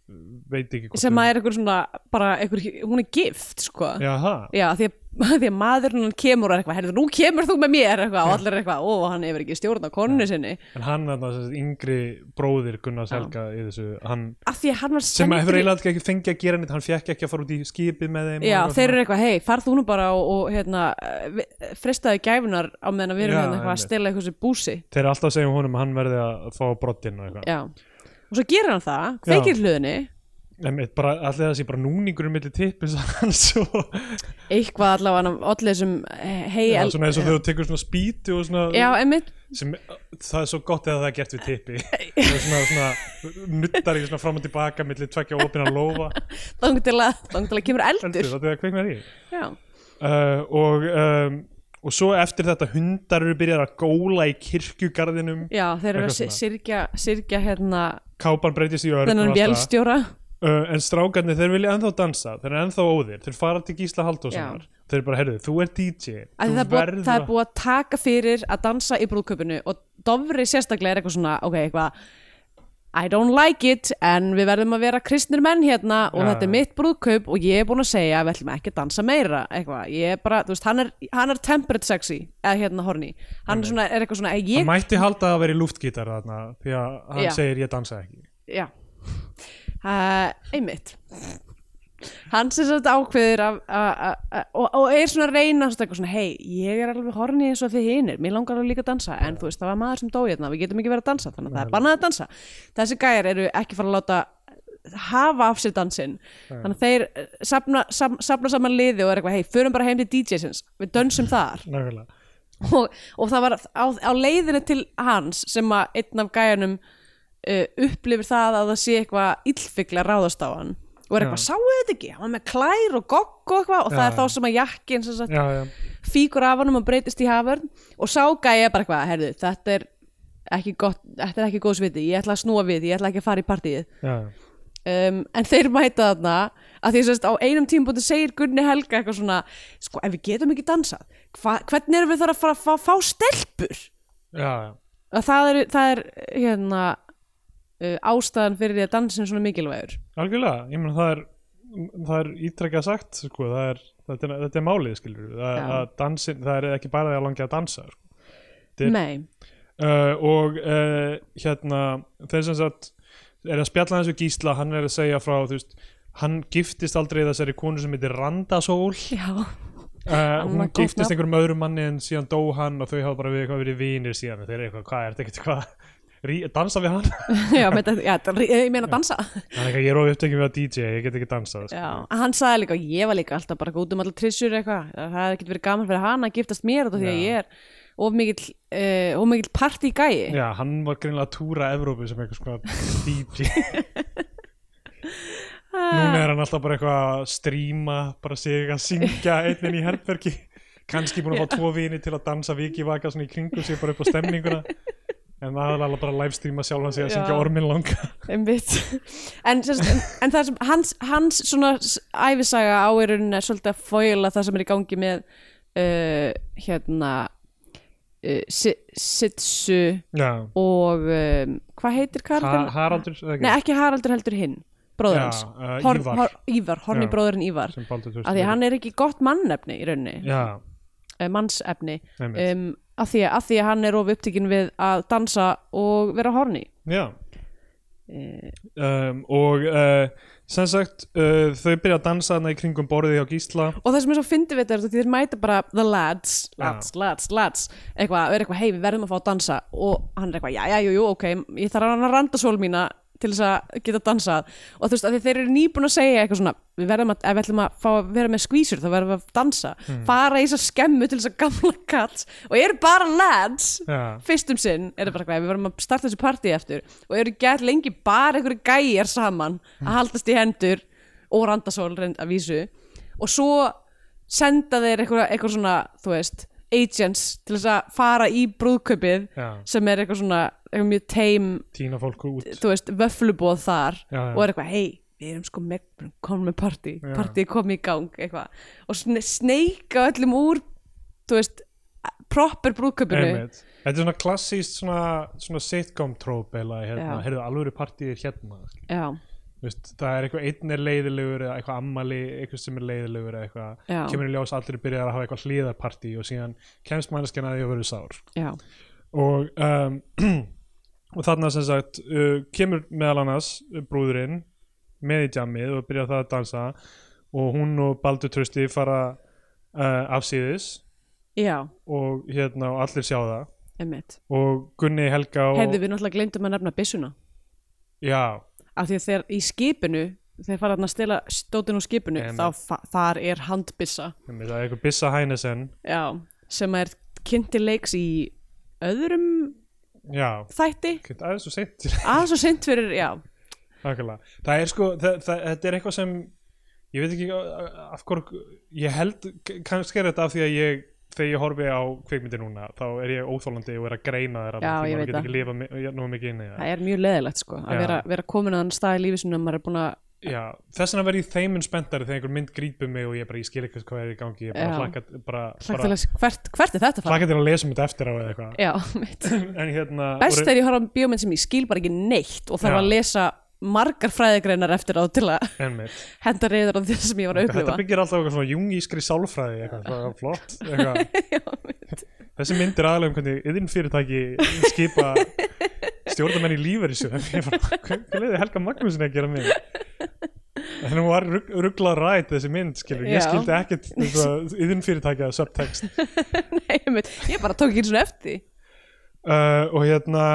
veit ekki hvort sem að er einhver svona bara einhver, hún er gift sko Já, það, Já, því að, því að maðurinn hann kemur og er eitthvað, herrðu, nú kemur þú með mér eitthvað, og allir er eitthvað, ó, hann hefur ekki stjórn á konunni sinni, en hann er þarna yngri bróðir Gunnars Helga í þessu, hann af því að hann var sem sendur að hefur í- eiginlega ekki fengið að gera neitt hann fekk ekki að fara út í skipið með þeim og Já, eitthvað þeir svona. eru eitthvað, hei, farð þú nú bara og, og hérna, eh, vi- fristaðu gæfunar á meðan að við erum Já, hérna eitthvað að einmitt. stela eitthvað sem búsi þeir eru alltaf að segja um honum að hann verði að fá brottinn og eitthvað Já, og svo gerir hann það, kveikir hluðinni Einmitt, bara, allir það sé bara núningurinn milli tippis hans og eitthvað allavega hann allir þessum eh, hei, já, el- svona eins og þegar þú tekur svona spýtu og svona já, einmitt sem, það er svo gott eða það er gert við tippi það er svona, svona nuttar í svona fram og tilbaka milli tvekja opina lófa þang til að, þang til að kemur eldur heldur það þegar kveiknar í Já, uh, og um, og svo eftir þetta hundar eru byrjar að góla í kirkjugarðinum já þeir eru Eitthvað að sy- svona. syrgja, syrgja hérna kápan breytist í örn og þennan allt það. vélstjóra uh, en strákarnir þeir vilja ennþá dansa þeir eru ennþá óðir, þeir fara til Gísla Halldórssonar þeir bara, heyrðu, þú er DJ Af því þú Það er, búið, það er búið að taka fyrir að dansa í brúðköpunu og Dofri sérstaklega er eitthvað svona ok, eitthvað I don't like it en við verðum að vera kristnir menn hérna og Já. þetta er mitt brúðkaup og ég er búin að segja að við ætlum ekki að dansa meira eitthvað, ég er bara, þú veist, hann er, hann er temperate sexy, eða hérna horny hann er svona, er eitthvað svona, ég hann mætti halda að vera í luftgítar þarna því að hann Já. segir ég dansa ekki já uh, einmitt hann sem sagt ákveður af, a, a, a, og, og er svona að reyna svona eitthvað svona, hei, ég er alveg horni eins og þið hinir, mér langar alveg líka að dansa en þú veist, það var maður sem dói hérna, við getum ekki verið að dansa þannig að það er bannað að dansa þessi gæjar eru ekki fara að láta hafa af sér dansinn þannig að þeir eh, safna, sam, safna saman liði og er eitthvað, hei, förum bara heim til DJ-sins við dönsum þar nákvæmlega og, og það var á, á leiðinu til hans sem að einn af gæjanum uh, upplifir það að það sé eitthvað illfigla ráðast á hann og er eitthvað, Já. sáu þetta ekki, hann var með klær og gogg og eitthvað og það Já, er þá sem að jakkin sem sagt, já, já. fíkur af honum og breytist í haförn og sá gæja bara eitthvað, herðu, þetta er ekki gott, þetta er ekki góðs viti, ég ætla að snúa við ég ætla ekki að fara í partíið Já. um, en þeir mæta þarna að því sérst á einum tímabóti segir Gunni Helga eitthvað svona, sko ef við getum ekki dansað hva, hvernig erum við þar að fara að fá, fá stelpur Já, já. að það er, það er hérna uh, ástæðan fyrir því að dansin er svona mikilvægur algjörlega, ég meina það er það er ítrekkað sagt sko, það er, þetta, er, þetta er málið skilur það, Já. er- að dansin, það er ekki bara því að langja að dansa sko. Þetta er- nei, uh, og uh, hérna þeir sem sagt er að spjalla hans við Gísla, hann er að segja frá þú veist, hann giftist aldrei þessari konu sem heitir Randasól já, uh, hún Annað gott giftist nafn. einhverjum öðrum manni en síðan dó hann og þau hafa bara við, eitthvað verið vinir síðan þeir eru eitthvað, hvað er þetta ekkert hvað Rí- dansa við hann já, með, þetta- já þetta- ég meina dansa Hann er eitthvað, ég er ofið upptekið við að DJ, ég get ekki dansað sko. já, hann sagði líka, og ég var líka alltaf bara út um allar trissur eitthvað, það hefði ekki verið gaman fyrir hann að giftast mér þetta því að Já. ég er of mikill, uh, of mikill partí gæi Já, hann var greinlega að túra Evrópu sem eitthvað sko DJ Núna er hann alltaf bara eitthvað að stríma bara sig að syngja einnig í herbergi kannski búin að fá tvo vini til að dansa vikivaka svona í kringum sig bara upp á stemninguna en aðalega bara að livestreama sjálfan sig að syngja Já. ormin langa Einmitt. en, sem sagt- en, en það sem hans, hans svona s- ævisaga á er rauninni svolítið að fóila það sem er í gangi með uh, hérna uh, si- Sitsu Já, og um, hvað heitir ha Karl? Haraldur eða Nei ekki, ekki Haraldur heldur hinn bróður Já, hans uh, Horn- Ívar. Hor- Ívar, horni Já. bróðurinn Ívar sem Baldur af því að hann er ekki gott mannefni í rauninni Já, uh, mannsefni einmitt um, af, því að, af því að hann er of upptíkin við að dansa og vera horni Já uh, um, og uh, sem sagt uh, þau byrja að dansa þarna í kringum borðið hjá Gísla og það sem er svo fyndið við þetta er að þeir mæta bara the lads, lads, lads, lads eitthvað, og er eitthvað, hei, við verðum að fá að dansa og hann er eitthvað, já, já, jú, jú, ok ég þarf að hann að randa sól mína til þess að geta dansað og þú veist, að þeir eru nýbúin að segja eitthvað svona, við verðum að, ef við ætlum að fá að vera með skvísur, þá verðum við að dansa fara í þess að skemmu til þess að gamla kall og eru bara lads Já, fyrstum sinn er það bara eitthvað, við verðum að starta þessu partí eftir og eru gert lengi bara einhverju gæjar saman að haldast í hendur og randasól reynd að vísu og svo senda þeir eitthvað, eitthvað svona, þú veist agents til þess að fara í brúðkaupið já, sem er eitthvað svona eitthvað mjög teim, tína fólku út þú veist, vöflubóð þar Já, já. og er eitthvað, hei, við erum sko með, komum með partí, Já. partí komið í gang eitthvað, og sne sneika öllum úr, þú veist proper brúðkaupinu Einmitt. Þetta er svona klassíst svona, svona sitcom tróp eða hérna, Já. heyrðu alvöru partíð er hérna skilur. Já, Þú veist, það er eitthvað einn er leiðilegur eða eitthvað ammali, eitthvað sem er leiðilegur eða eitthvað, Já. kemur í ljós að allir byrjar að hafa eitthvað hlýðarpartí og síðan kemst manneskjan að því að verður sár já og, um, og þarna sem sagt uh, kemur meðal annars uh, brúðurinn með í djamið og byrjar það að dansa og hún og Baldur Trösti fara uh, afsýðis Já, og hérna og allir sjá það emmitt. og Gunni Helga og Hefðu við náttúrulega gleymdum að nefna byssuna. Já, Af því að þegar í skipinu, þegar fara þarna að stela stótin úr skipinu, Einmitt. þá fa- þar er handbyssa. einmitt, það er eitthvað Bissa Hænesen Já, sem er kynnti leiks í öðrum Já, þætti. ekkert aðeins og seint Aðeins og seint fyrir, já, Nákvæmlega. Það er sko, það, það, þetta er eitthvað sem ég veit ekki uh, af hverju ég held, kannski er þetta af því að ég þegar ég horfi á kvikmyndir núna þá er ég óþólandi og er að greina þér Já, ég veit það það. ekki lifa mi- nú mikið inn í það það er mjög leðilegt sko. Að Já. vera, vera komin að hann stað í lífi sinni að maður er búin að já, þess vegna verð ég þeimin spenntari þegar einhver mynd grípur mig og ég bara, ég skil ekkert hvað er í gangi ég bara Já. hlakka bara, Hlakka til bara að sjá- hvert, hvert er þetta að fara? hlakka til að lesa um þetta eftir á eða eitthvað Já, mitt. en hérna Best voru- þegar ég horf á bíómynd sem ég skil bara ekki neitt og þarf Já. að lesa margar fræðigreinar eftir á til að einmitt. henda reyður á því sem ég var að þetta upplifa. byggir alltaf á eitthvað svona jungískri sálfræði eitthvað, það er flott eitthvað. þessi mynd er aðlega um hvernig yðinfyrirtæki skipa stjórnamenn í lífverðisjóðum hvað leiði Helga Magnúsin að gera mig þannig hún var rugg, ruggla rætt þessi mynd skilur, Já. ég skildi ekkert eitthvað yðinfyrirtæki að subtext Nei, mitt. Ég bara tók ekki eins og eftir. því. uh, og hérna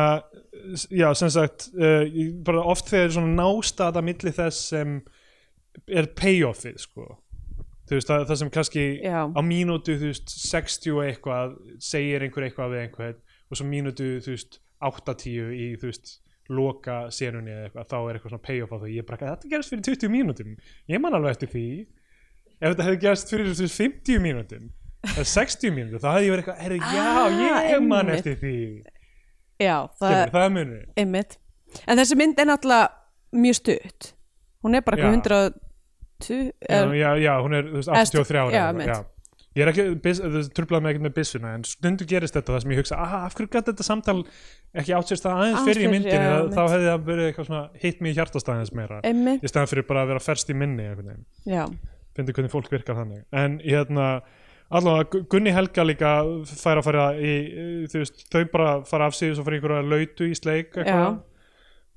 s- já sem sagt uh, ég- bara oft þegar er svona nástata milli þess sem er payoffið sko þú veist það, það sem kannski Já. á mínútu þú veist 60 og eitthvað segir einhver eitthvað við einhvern og svo mínútu þú veist 80 í þú veist loka senunni eða eitthvað þá er eitthvað svona payoff á því ég bara þetta gerist fyrir 20 mínútum ég man alveg eftir því ef þetta hefði gerst fyrir þú veist 50 mínútum eða 60 mínútum þá hefði ég verið eitthvað herri já Ah, ég man einmitt. eftir því Já, það Skilur, það er munur Einmitt. En þessi mynd er náttúrulega mjög stutt. Hún er bara Já. eitthvað 120 já, er, já, já, hún er þú veist, Eða stu- 83 ára já, eitthvað, mitt. Ég er ekki, bis, þú veist, trublaði mig ekkert með byssuna en stundu gerist þetta það sem ég hugsa aha, af hverju gæti þetta samtal ekki átsérst það aðeins Aðeins fyrir í fyrr, myndinni já, já, mitt. þá hefði það verið eitthvað svona hitt mig í hjartastæðins meira einmitt. í staðan fyrir bara að vera ferst í minni einhvern veginn Já, finnir hvernig fólk virkar þannig en hérna, allavega Gu- Gunni Helga líka fær að fara í eh, þú veist, þau bara fara af sig og svo fara í einhverja lautu í sleik já. eitthvað.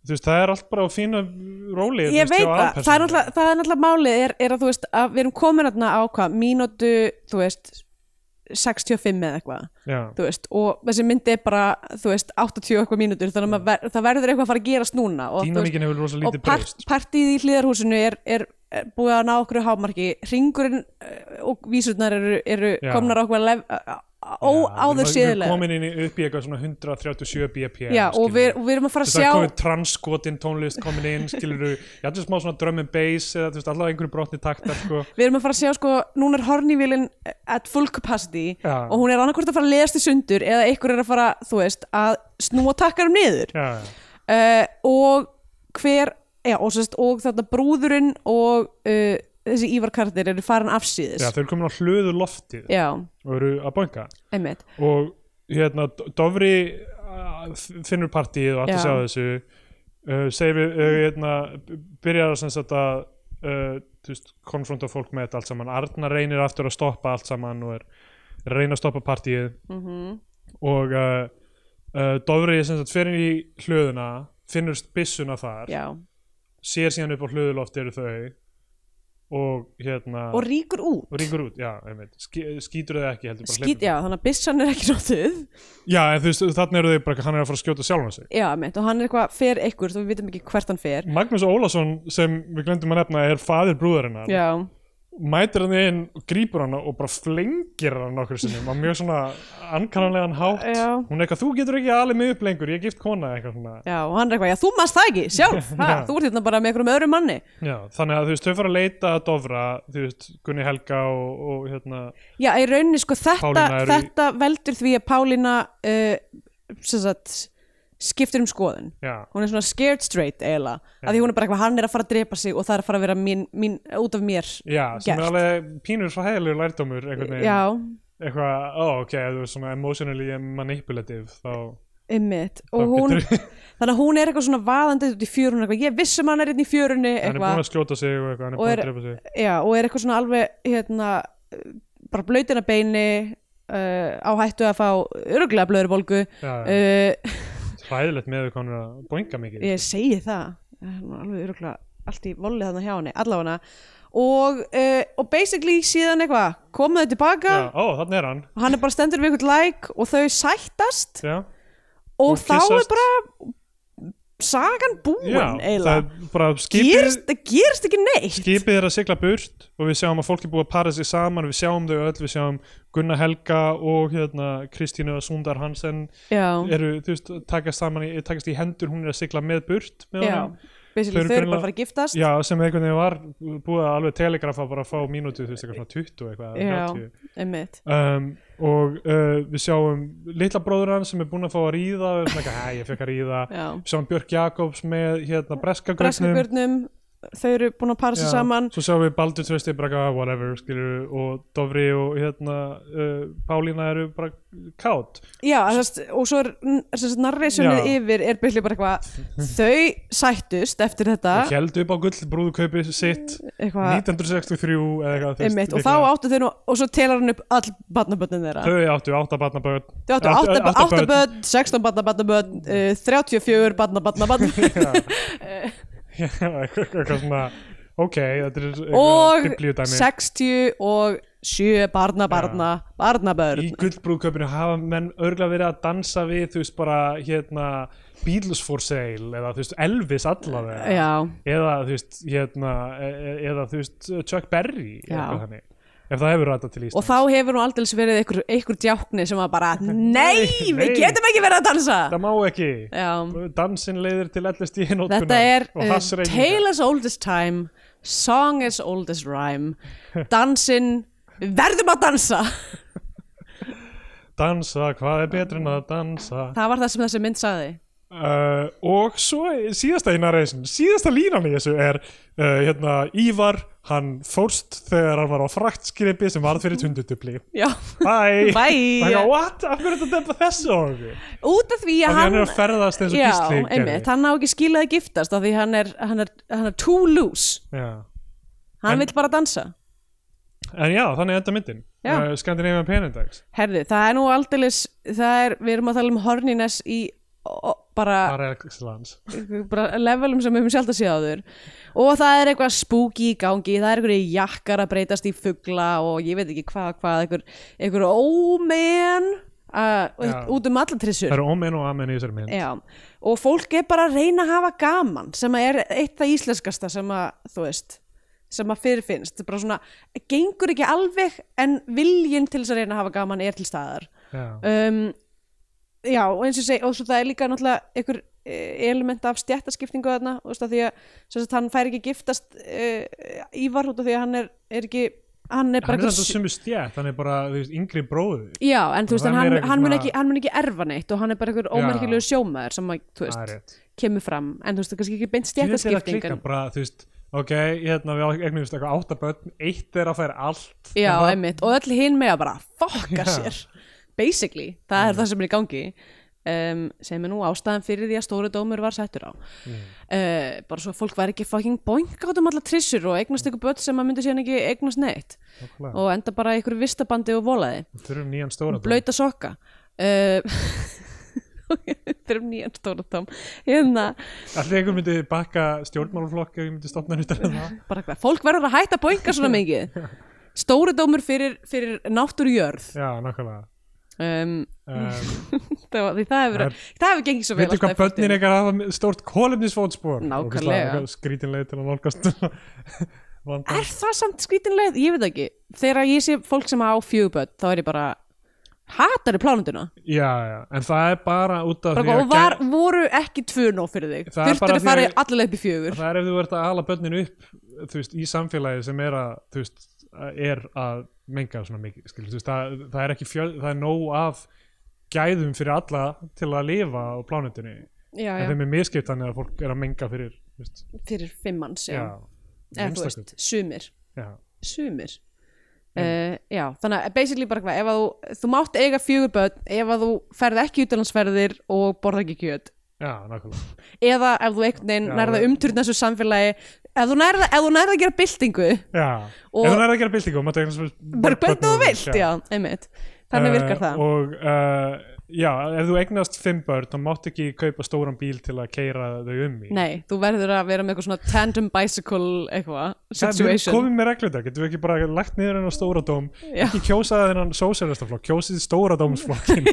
þú veist, það er allt bara á fína róli þú Ég veist, veit hjá það, það er aðalpersónunni. náttúrulega, það er náttúrulega málið er, er að þú veist að við erum komin aðna á hvað, mínútu, þú veist, 65 eða eitthvað, Já. þú veist, og þessi myndi er bara, þú veist, 80 og eitthvað mínútur, þannig að maður ver, það verður eitthvað að fara að gerast núna og, þú veist, dýnamíkin hefur rosa og lítið part, breyst partíð í hliðarhúsinu er, er, er búið að ná okkur hámarki, ringurinn eh, og vísurnar eru, eru Já. komnar á okkur lef, óáður Við séðilega. komin inn í upp í eitthvað svona 137 BPM Já, og við, og við erum að fara að Það er komin sjá, transkotin tónlist komin inn, skilur þú, ég ætlum smá svona drum and bass eða þú veist, allavega einhverju brotni taktar sko. við erum að fara að sjá sko, núna er hornívílin at full capacity Já. og hún er annarkvort að fara að leiðast í sundur eða einhver er að fara, þú veist, að snúa takkarum niður Já, já. uh, og hver já, og, sest, og þetta brúðurinn og uh, þessi Ívar Kardir eru farin afsýðis já, þau eru komin á hlöðu loftið já og eru að bönga einmitt, og hérna, D- Dofri uh, finnur partíið og allt að Já. sjá þessu uh, segir við, uh, hérna, b- byrjar að sem sagt að uh, þú veist, konfronta fólk með þetta allt saman Arna reynir aftur að stoppa allt saman og er er að reyna að stoppa partíið Mhm. -hmm. og uh, uh, Dofri sem sagt fyrir í hlöðuna finnur byssuna þar já, sér síðan upp á hlöðuloft eru þau og hérna og ríkur út og rýkur út, já, einmitt, Ski- skýtur þau ekki heldur bara skýt, hleypur já, þannig að byssan er ekki notuð Já, en þú veist, þarna eru þau bara, hann er að fara að skjóta sjálfan sig. já, einmitt, og hann er eitthvað fer ekkur, þú vitum ekki hvert hann fer Magnús Ólason, sem við glemdum að nefna, er faðir brúðarinnar. já, Mætir hann inn, grípur hann og bara flengir hann okkur sinnum á mjög svona ankannanlegan hátt. Já. Hún er eitthvað, þú getur ekki alveg mig upp lengur, ég er gift kona, eitthvað svona. já, og hann er eitthvað já, þú maður það ekki, sjálf, ha, Já. þú ert hérna bara með einhverjum öðrum manni Já, þannig að þú veist, þau fara að leita að Dofra, þú veist, Gunni Helga og, og hérna, Já, í rauninni sko þetta, Pálína er í- þetta veldur því að Pálína uh, sem sagt, skiptir um skoðun. já, Hún er svona scared straight eiginlega, af því hún er bara eitthvað, hann er að fara að drepa sig og það er að fara að vera mín, mín, út af mér. já, sem Gert. er alveg pínur svo heilir lærdómur, einhvern veginn. Já, Eitthvað, ó, ok, ef þú er svona emotionally manipulative, þá... ymmit. Þá Og hún, getur- þannig að hún er eitthvað svona vaðandi út í fjörunni, eitthvað, ég vissum hann er einn í fjörunni, Hann er búin eitthvað, að skjóta sig og eitthvað, hann er Og búin er- að drepa sig. já, og er eitthvað svona alveg, hérna, eh, bara blöytina beini, uh, á hættu að fá öruglega blöðurbolgu, Já, já. uh, hræðilegt með hvað hann er að boinga mikið ég segi það Hún er alveg öruglega allt í volli þannig hjá henni allavega og, uh, og basically síðan eitthvað komu þau tilbaka já, ó, þannig er hann og hann er bara stendur við eitthvað læk og þau sættast já, og, Og þá kyssast. er bara sagan búin já það er eiginlega bara skipið, gerist, það gerist ekki neitt skipið er að sigla burt og við sjáum að fólk er búið að para sig saman við sjáum þau öll, við sjáum Gunnar Helga og hérna Kristínu Sundar Hansen já, eru, þú veist, takast saman í, takast í hendur, hún er að sigla með burt með já honum. basically Þau eru þau eru bara greinilega- að fara að giftast já, sem einhvern veginn var búið að alveg telegrafa bara að fá mínútu, þú veist, eitthvað svona 20 eitthvað, Já. 30 einmitt um, og uh, við sjáum litla bróður hann sem er búinn að fá að ríða og er svona, eitthvað, "Æ, ég fekk að ríða Já. við sjáum Björk Jakobs með hérna breska breskagörnum þau eru búin að para sig Já, saman Svo sjáum við Baldur Trösti bara eitthvað, whatever skilur, og Dofri og hérna, uh, Pálína eru bara kátt já, þess, og svo er þess, narrationið Já. yfir er byrli bara eitthvað þau sættust eftir þetta og held upp á gull brúðkaupi sitt eitthvað, 1963 eða eitthvað þú veist, einmitt, og þá líklega. áttu þau nú og svo telar hann upp all barnaböndin þeirra Þau áttu átta barnabörn þau áttu 8 börn, 16 barna barna börn uh, 34 barna barna barn Já, eitthvað eitthvað svona ok, þetta er og biblíudæmi 60 og 7 barna barna barna í börn gullbrúðkaupinu hafa menn örgla verið að dansa við þú veist bara hérna Beatles for sale eða þú veist Elvis allavega já, eða þú veist hérna e- e- eða þú veist Chuck Berry Já. eða eitthvað þannig. ef það hefur ræta til og Ísland þá hefur nú aldrei verið einhver, einhver djákni sem var bara nei, við nei. getum ekki verið að dansa það má ekki já, dansin leiðir til ellest í þetta er og uh, hassreikingar. tale as old as time song as old as rhyme dansinn við verðum að dansa dansa, hvað er betur en að dansa það var það sem þessi mynd saði uh, og svo síðasta í narration síðasta línan í þessu er uh, hérna Ívar, hann fórst þegar hann var á fraktskripi sem varð fyrir tundutupli já, Bye. Bye. Like, what? Af hverju er þetta bara þessu á okkur? út af því Af að því hann hann er að ferðast eins og já, gísli einmitt, hann á ekki skilað að giftast af því hann er, hann er, hann er too loose Já. hann En- vill bara dansa En já, þannig enda myndin Já. uh, Scandinavian Penindex herði, það er nú aldeilis það er, við erum að tala um horniness í ó, bara, Bara excellence bara levelum sem við höfum sjálft að séð á þur og það er eitthvað spooky í gangi það er einhverju jakkar að breytast í fugla og ég veit ekki hvað, hvað einhver, einhver ómen Já. uh, út um alla trissur Það eru ómenn og amenn í þessari mynd Já, og fólk er bara að reyna að hafa gaman sem að er eitt það íslenskasta sem að, þú veist, sem að fyrirfinnst bara svona, gengur ekki alveg en viljinn til þess að reyna að hafa gaman er til staðar Já. um, Já, og eins og ég segi, og svo það er líka náttúrulega einhver eh, element af stjættaskiptingu þarna, þú veist að því að sem sagt, hann fær ekki giftast uh, Ívar út af því að hann er, er ekki hann er bara Hann er einhver þetta sjö- sumu stjætt Hann er bara þú veist, yngri bróður Já, en þú veist, Hann er en hann, eitthvað hann, mun svona- ekki, hann mun ekki erfa neitt og hann er bara einhver ómerkilegu sjómaður sem að, þú Það veist, er rétt kemur fram en þú veist, það er kannski ekki beint Ég veit að klikka stjættaskiptingan bara, þú veist Ok, hérna við eignumist eitthvað áttabötn Eitt er að færa allt já, Það- einmitt, og öll hinn með að bara fokka Já. sér basically, það er það sem er í gangi um, sem er nú ástæðan fyrir því að stóri dómur var settur á uh, bara svo að fólk var ekki fucking boink átum alla trissur og eignast ykkur börn sem að myndi síðan ekki eignast neitt Nákvæmlega. og enda bara í ykkur vistabandi og volaði Við Þurfum nýjan stóra blöyta sokka uh, þurfum um nýjan stóra tóm hérna Allir einhver myndi bakka stjórnmálflokk Ef ég myndi stopna hann utan um það bara hvað, fólk verður að hætta að boinga svona mikið stóri dómur fyrir, fyrir náttúru jörð Já, nákvæmlega um, um, það, var- því það hefur, Það það hefur gengið svo vel Veitu alltaf hvað í börnin fortíðinni. ykkar hafa stórt kólefnisfótspor Nákvæmlega. Skrítinlega til að nálgast Vanda er það samt skrítinlega, ég veit það ekki þegar ég sé fólk sem á fjöguböld þá er ég bara, hatar þið plánunduna Já, já, en það er bara út af því bara, hvað, að og var, gæ- voru ekki tvö nóg fyrir þig Það er bara þurftur því að fara að- allavega upp í fjögur það er ef þú ert að ala börnin upp þú veist, í samfélagi sem er að þú veist, að- er að menga svona mikið, skil, þú veist, það, það er ekki fjöl, það er nóg af gæðum fyrir alla til að lifa á plánetunni já, en já, þeim er miskipt þannig að fólk er að menga fyrir þú veist, fyrir fimm manns já. já, eða þú minnsta veist, sumir já, sumir Mm. uh, já, þannig að basically bara hvað ef að þú, þú mátt eiga fjögur börn ef að þú ferð ekki útlandsferðir og borða ekki kjöt já, nákvæmlega eða ef þú einhvern veginn Já, nærða það- umturna þessu samfélagi ef þú nærða, ef þú nærða að gera byltingu Já, Og- og ef hún er að gera byltingu máttu eignast bara börn- hvernig þú börn- vilt, já, einmitt þannig virkar Eh, það, og uh, já, ef þú eignast fimm börn þá mátt ekki kaupa stóran bíl til að keira þau um í nei, þú verður að vera með eitthvað svona tandem bicycle eitthvað, Það- við erum situation komið með reglundar, getum við ekki bara lagt niður hennar stóra dóm Já. ekki kjósaði hennar sósjálistaflokk, kjósið stóra dómsflokkin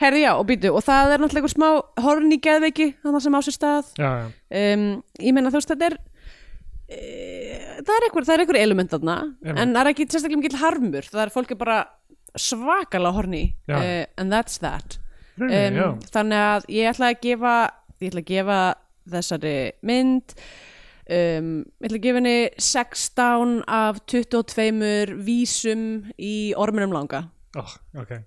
herri já, og býtu, og það er náttúrulega eitthvað smá horn í geðveiki, þannig sem á sér stað já, já, um, ég meina þú veist þetta er e, það er einhver, það er einhver element þarna Einmitt. en það er ekki sérstaklega mikill harmur það er fólk er bara svakalega horni Já. uh, and that's that Rauninni, já. þannig að ég ætla að gefa ég ætla að gefa þessari mynd um, ég ætla að gefa henni 16 af 22 vísum í orminum langa oh, ok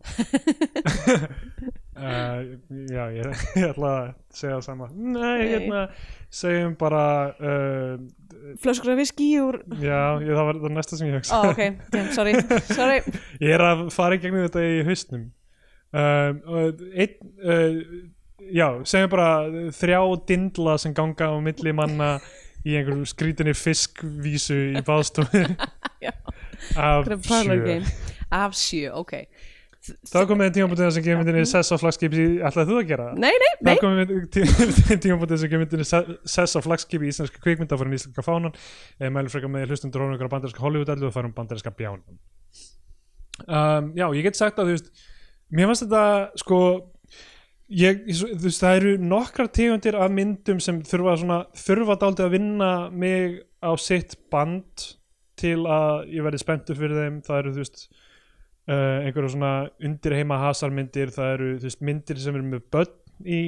Uh, já, ég, ég ætla að segja það sama Nei, Nei. hérna, segjum bara uh, Flöskur af viski úr Já, ég, það var það næsta sem ég hugsa Ó, ok, damn, sorry, sorry Ég er að fara í gegnum þetta í haustnum um, og einn, uh, Já, segjum bara þrjá dindla sem ganga á milli manna í einhverju skrítinni fiskvísu í baðstofu Já. Af Grand Parlor sjö Game Af sjö, ok Þá komið einn tímabútið sem gefur myndinni Sess á flagskipi, ætlaði þú að gera það? Nei, nei, Það nei komum við til tímabótið sem kemur myndinni sess á flagskipi í íslenska kvikmynda fyrir íslenska fánan eða mælum frekar með hlustum drónu ykkur á bandarinska Hollywood-ellu og farum bandarinska bjánum um, Já, ég get sagt að þú veist mér fannst þetta sko ég, ég- þú veist, það eru nokkrar tegundir af myndum sem þurfa svona þurfa dálítið að vinna mig á sitt band til að ég verði spenntu fyrir þeim það eru þú veist uh, einhverja svona undirheima hasarmyndir það eru þú veist, myndir sem eru með börn í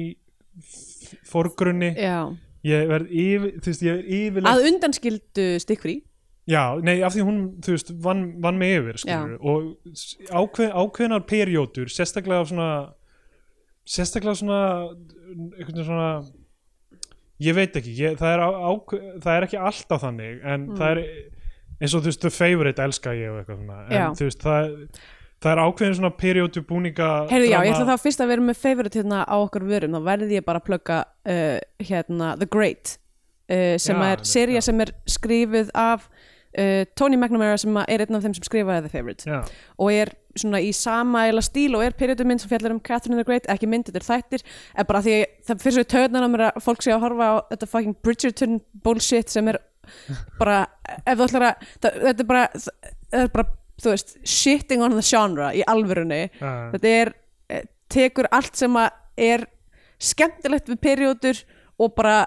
f- forgrunni Já, ég verð yfir, þú veist, ég verð yfirlega að undanskildu stikkfrí já, nei, af því hún, þú veist, vann, vann mig yfir skilur, og s- ákveð, ákveðnar perjótur, sérstaklega svona sérstaklega svona einhvern veginn svona ég veit ekki, ég, það, er á, á, það er ekki alltaf þannig, en Mm. það er eins og þú veist, The Favourite elska ég og eitthvað svona, en Já. þú veist, það það er ákveðin svona perjótu búninga Herðu, já, drama- ég ætla þá fyrst að vera með favorite hérna á okkar vörum, þá verði ég bara að plugga uh, hérna The Great uh, sem Já, að er einmitt, já. seria sem er skrifuð af uh, Tony McNamara sem að er einn af þeim sem skrifaði The Favorite já, og er svona í sama eila stíl og er periodumynd sem fjallar um Catherine the Great ekki mynd, þetta er þættir en bara því það fyrir svo í töðnar á mér að fólk sé að horfa á þetta fucking Bridgerton bullshit sem er bara ef þú ætlar að það, þetta er bara, það er bara þú veist, shitting on the genre í alvörunni já. þetta er, eh, tekur allt sem að er skemmtilegt við periodur og bara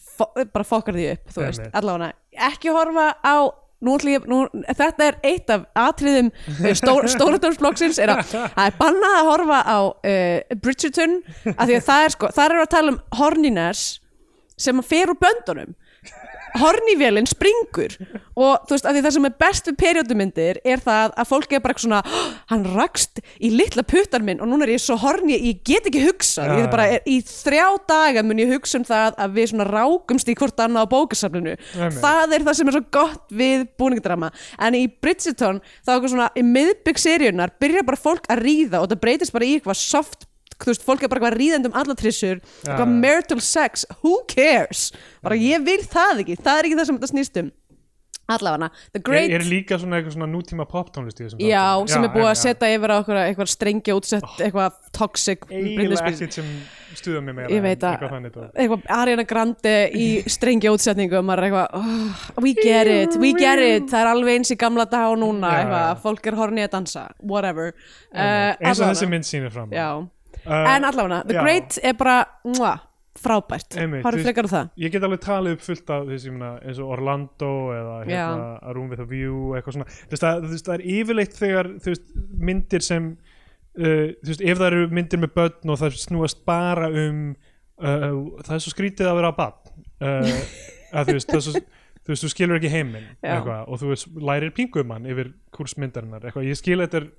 fo- bara fokkar því upp, þú veist, Einmitt. allavega ekki horfa á Nú ætla ég, nú, þetta er eitt af atriðum eh, stó, stóratórflokksins er að það er bannað að horfa á uh, Bridgerton af því að það er sko, það eru að tala um horniners sem að fer úr böndunum hornivélinn springur og þú veist að því það sem er best við periodumyndir er það að fólk er bara eitthvað svona "Hó, hann rakst í litla puttar minn og núna er ég svo horni, ég get ekki hugsað Já, ég er bara, já. er, í þrjá daga mun ég hugsa um það að við svona rákumst í hvort annað á bókasafninu Einmitt. það er það sem er svo gott við búningadrama en í Bridgerton þá er eitthvað svona í miðbygg seríunar byrjar bara fólk að ríða og það breytist bara í eitthvað soft þú veist, fólk er bara eitthvað ríðandi um allatrisur Já, eitthvað já. Mm. marital sex, who cares bara ég vil það ekki, það er ekki það sem þetta snýst um allavega, the great er, er líka svona eitthvað svona nútíma poptónlist í þessum já, þáttum. sem er búið en- að setja yfir á okkur eitthvað strengja útsett, eitthvað toxic Britney Oh. eiginlega Spears. ekkert sem stuða mig meira ég en veit að eitthvað þannig dót. eitthvað Ariana Grande í strengja útsetningu og maður er eitthvað oh, we get it, we get it, það er alveg eins í gamla dag og núna, Já, eitthvað, já. fólk er horni að dansa whatever uh, eins og allavega. þessi mynd sýnir fram á. já. Uh, en allavega, The já. Great er bara mwah, frábært, Einmitt, þú- horfðu frekar á það ég get alveg talið upp fullt af þessi myrna, eins og Orlando eða hérna, A Room with a View eitthvað svona Þú veist, það, þú veist, það er yfirleitt þegar þú veist, myndir sem uh, þú veist, ef það eru myndir með börn og það snúast bara um uh, það er svo skrítið að vera bann uh, að þú veist, það er svo þú veist, þú skilur ekki heiminn Já. eitthvað, og þú veist, lærir pingumann yfir kursmyndarinnar, eitthvað, ég skil þetta er,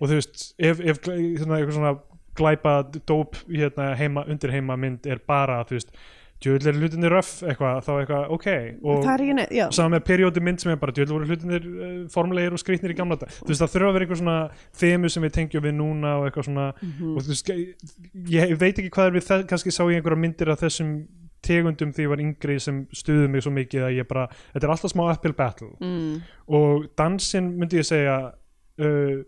og þú veist, ef, ef glæ- svona, eitthvað svona glæpa dóp hérna, heima, undir heima mynd er bara þú veist, djöðl er hlutinni röff eitthvað, þá eitthvað, ok og það er ekki neitt, já saman með periódi mynd sem er bara djöðl voru hlutinir uh, formlegir og skrýtnir í gamla dag þú veist það þurfa að vera eitthvað svona þemu sem við tengjum við núna og eitthvað svona Mhm. og þú veist ég ég veit ekki hvað er við það kannski sá ég einhverja myndir af þessum tegundum því ég var yngri sem stuðu mig svo mikið að ég bara þetta er alltaf smá uphill battle mm. og dansinn myndi ég segja uh,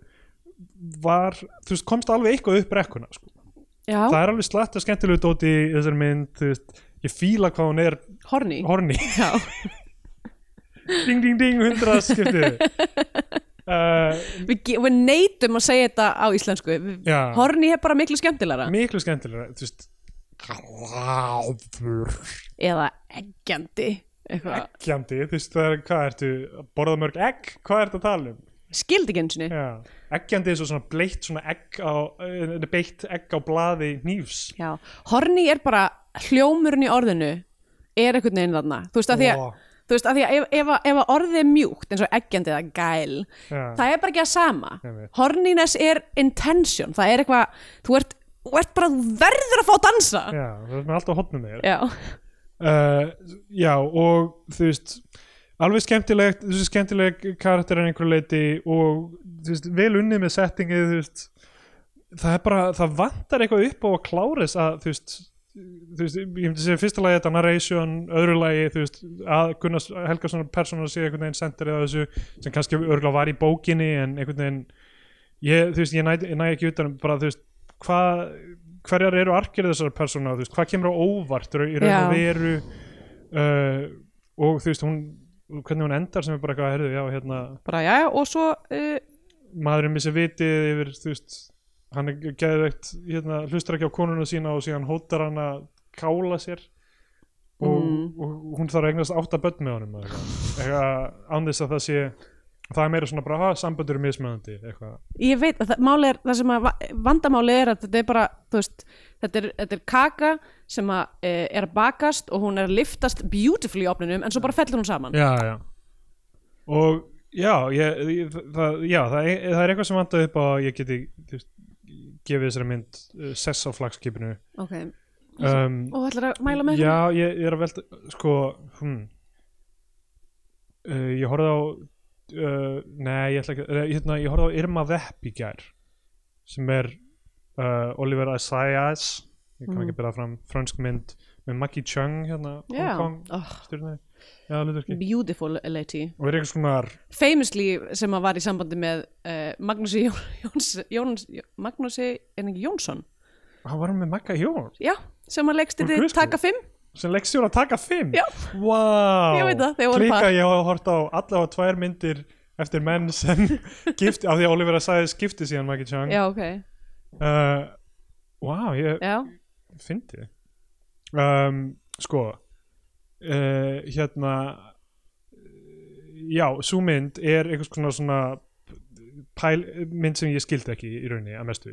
var þú veist komst alveg eitthvað upp brekkuna sko. já, það er alveg slætt að skemmtilegu dóti í þessari mynd þú veist, ég fíla hvað hún er horni horni já, ding ding ding hundra skiptið uh, við, ge- við neytum að segja þetta á íslensku við, já, horni er bara miklu skemmtilegra miklu skemmtilega þú veist gráður eða eggjandi eitthvað, Gjandi, þú veist það er, hvað ertu að borða mörg egg, hvað ertu að tala um skildi ekki eins og já. eggjandi er svo svona bleitt svona egg á, eh, beitt egg á blaði nýfs Já, horni er bara hljómurinn í orðinu er einhvern veginn þarna þú veist að því að, Ó. þú veist, að, því að ef, ef, að- ef að orðið er mjúkt eins og eggjandi eða gæl Já. það er bara ekki að sama Einmitt. horniness er intention það er eitthvað, þú ert og ert bara, þú verður að fá að dansa já, það er með alltaf hotnum þér já, uh, já og þú veist alveg skemmtilegt þú veist skemmtileg karakter en einhverju leiti og þú veist vel unnið með settingið þú veist það er bara það vantar eitthvað upp á að kláris að þú veist þú veist, ég myndi segja fyrsta lagi þetta narration, öðru lagi þú veist, að Gunnars Helgason persónur sé einhvern veginn senderið á þessu sem kannski örgulega var í bókinni en einhvern veginn ég, þú veist, ég næ, ég næ ekki utan um bara þú veist, hvað hverjar eru arkir þessar persóna, þú veist, hvað kemur á óvart í raun og Já. veru uh, og þú veist, hún hvernig hún endar sem er bara eitthvað, herðu, já, hérna bara já, já, og svo uh, maðurinn missi vitið yfir þú veist, hann er geðveikt hérna, hlustar ekki á konuna sína og síðan hótar hann að kála sér og, Mm. og hún þarf að eignast átta börn með honum eða eitthvað. eitthvað án þess að það sé það er meira svona bara, ha, samböndur er mismöðandi eitthvað, ég veit að það, máli er, það sem að va- vandamáli er að þetta er bara þú veist, þetta er, þetta er kaka sem að, e, er að bakast og hún er að liftast beautifully í opninum en svo bara fellur hún saman já, já og já, ég, ég, það, já það, er, það er eitthvað sem vandaði upp á að ég geti þú veist, gefið þessari mynd uh, sess á flagskipinu ok, um, og ætlar að mæla með Já, ég, ég er að velta sko hmm. uh, ég horfði á uh, nei, ég ætla ekki uh, hérna, ég horfði á Irma Vepp í gær sem er uh, Oliver Assayas ég kann Mhm. ekki byrja fram fransk mynd með Maggie Chung hérna Já. Hong Kong oh, stjórnaði já, hlutverki beautiful lady og er einhvers konar famously sem að var í sambandi með uh, Magnúsi Jón, Jóns, Jóns, Magnúsi, en ekki Jónsson hann var með Magga Jón já, sem að leggst Úr þetta Guðskúfu? taka 5 sem leggstjóra taka fimm Já. wow. Ég veit það, þeir voru Klíka, par. ég hafa hort á allavega tvær myndir eftir menn sem gift, af því að Oliver Assayas gifti síðan Maggie Chung já, ok, uh, Wow, ég já, fyndi um, Sko uh, Hérna uh, Já, svo mynd er einhvers konar svona pæl, mynd sem ég skildi ekki í rauninni að mestu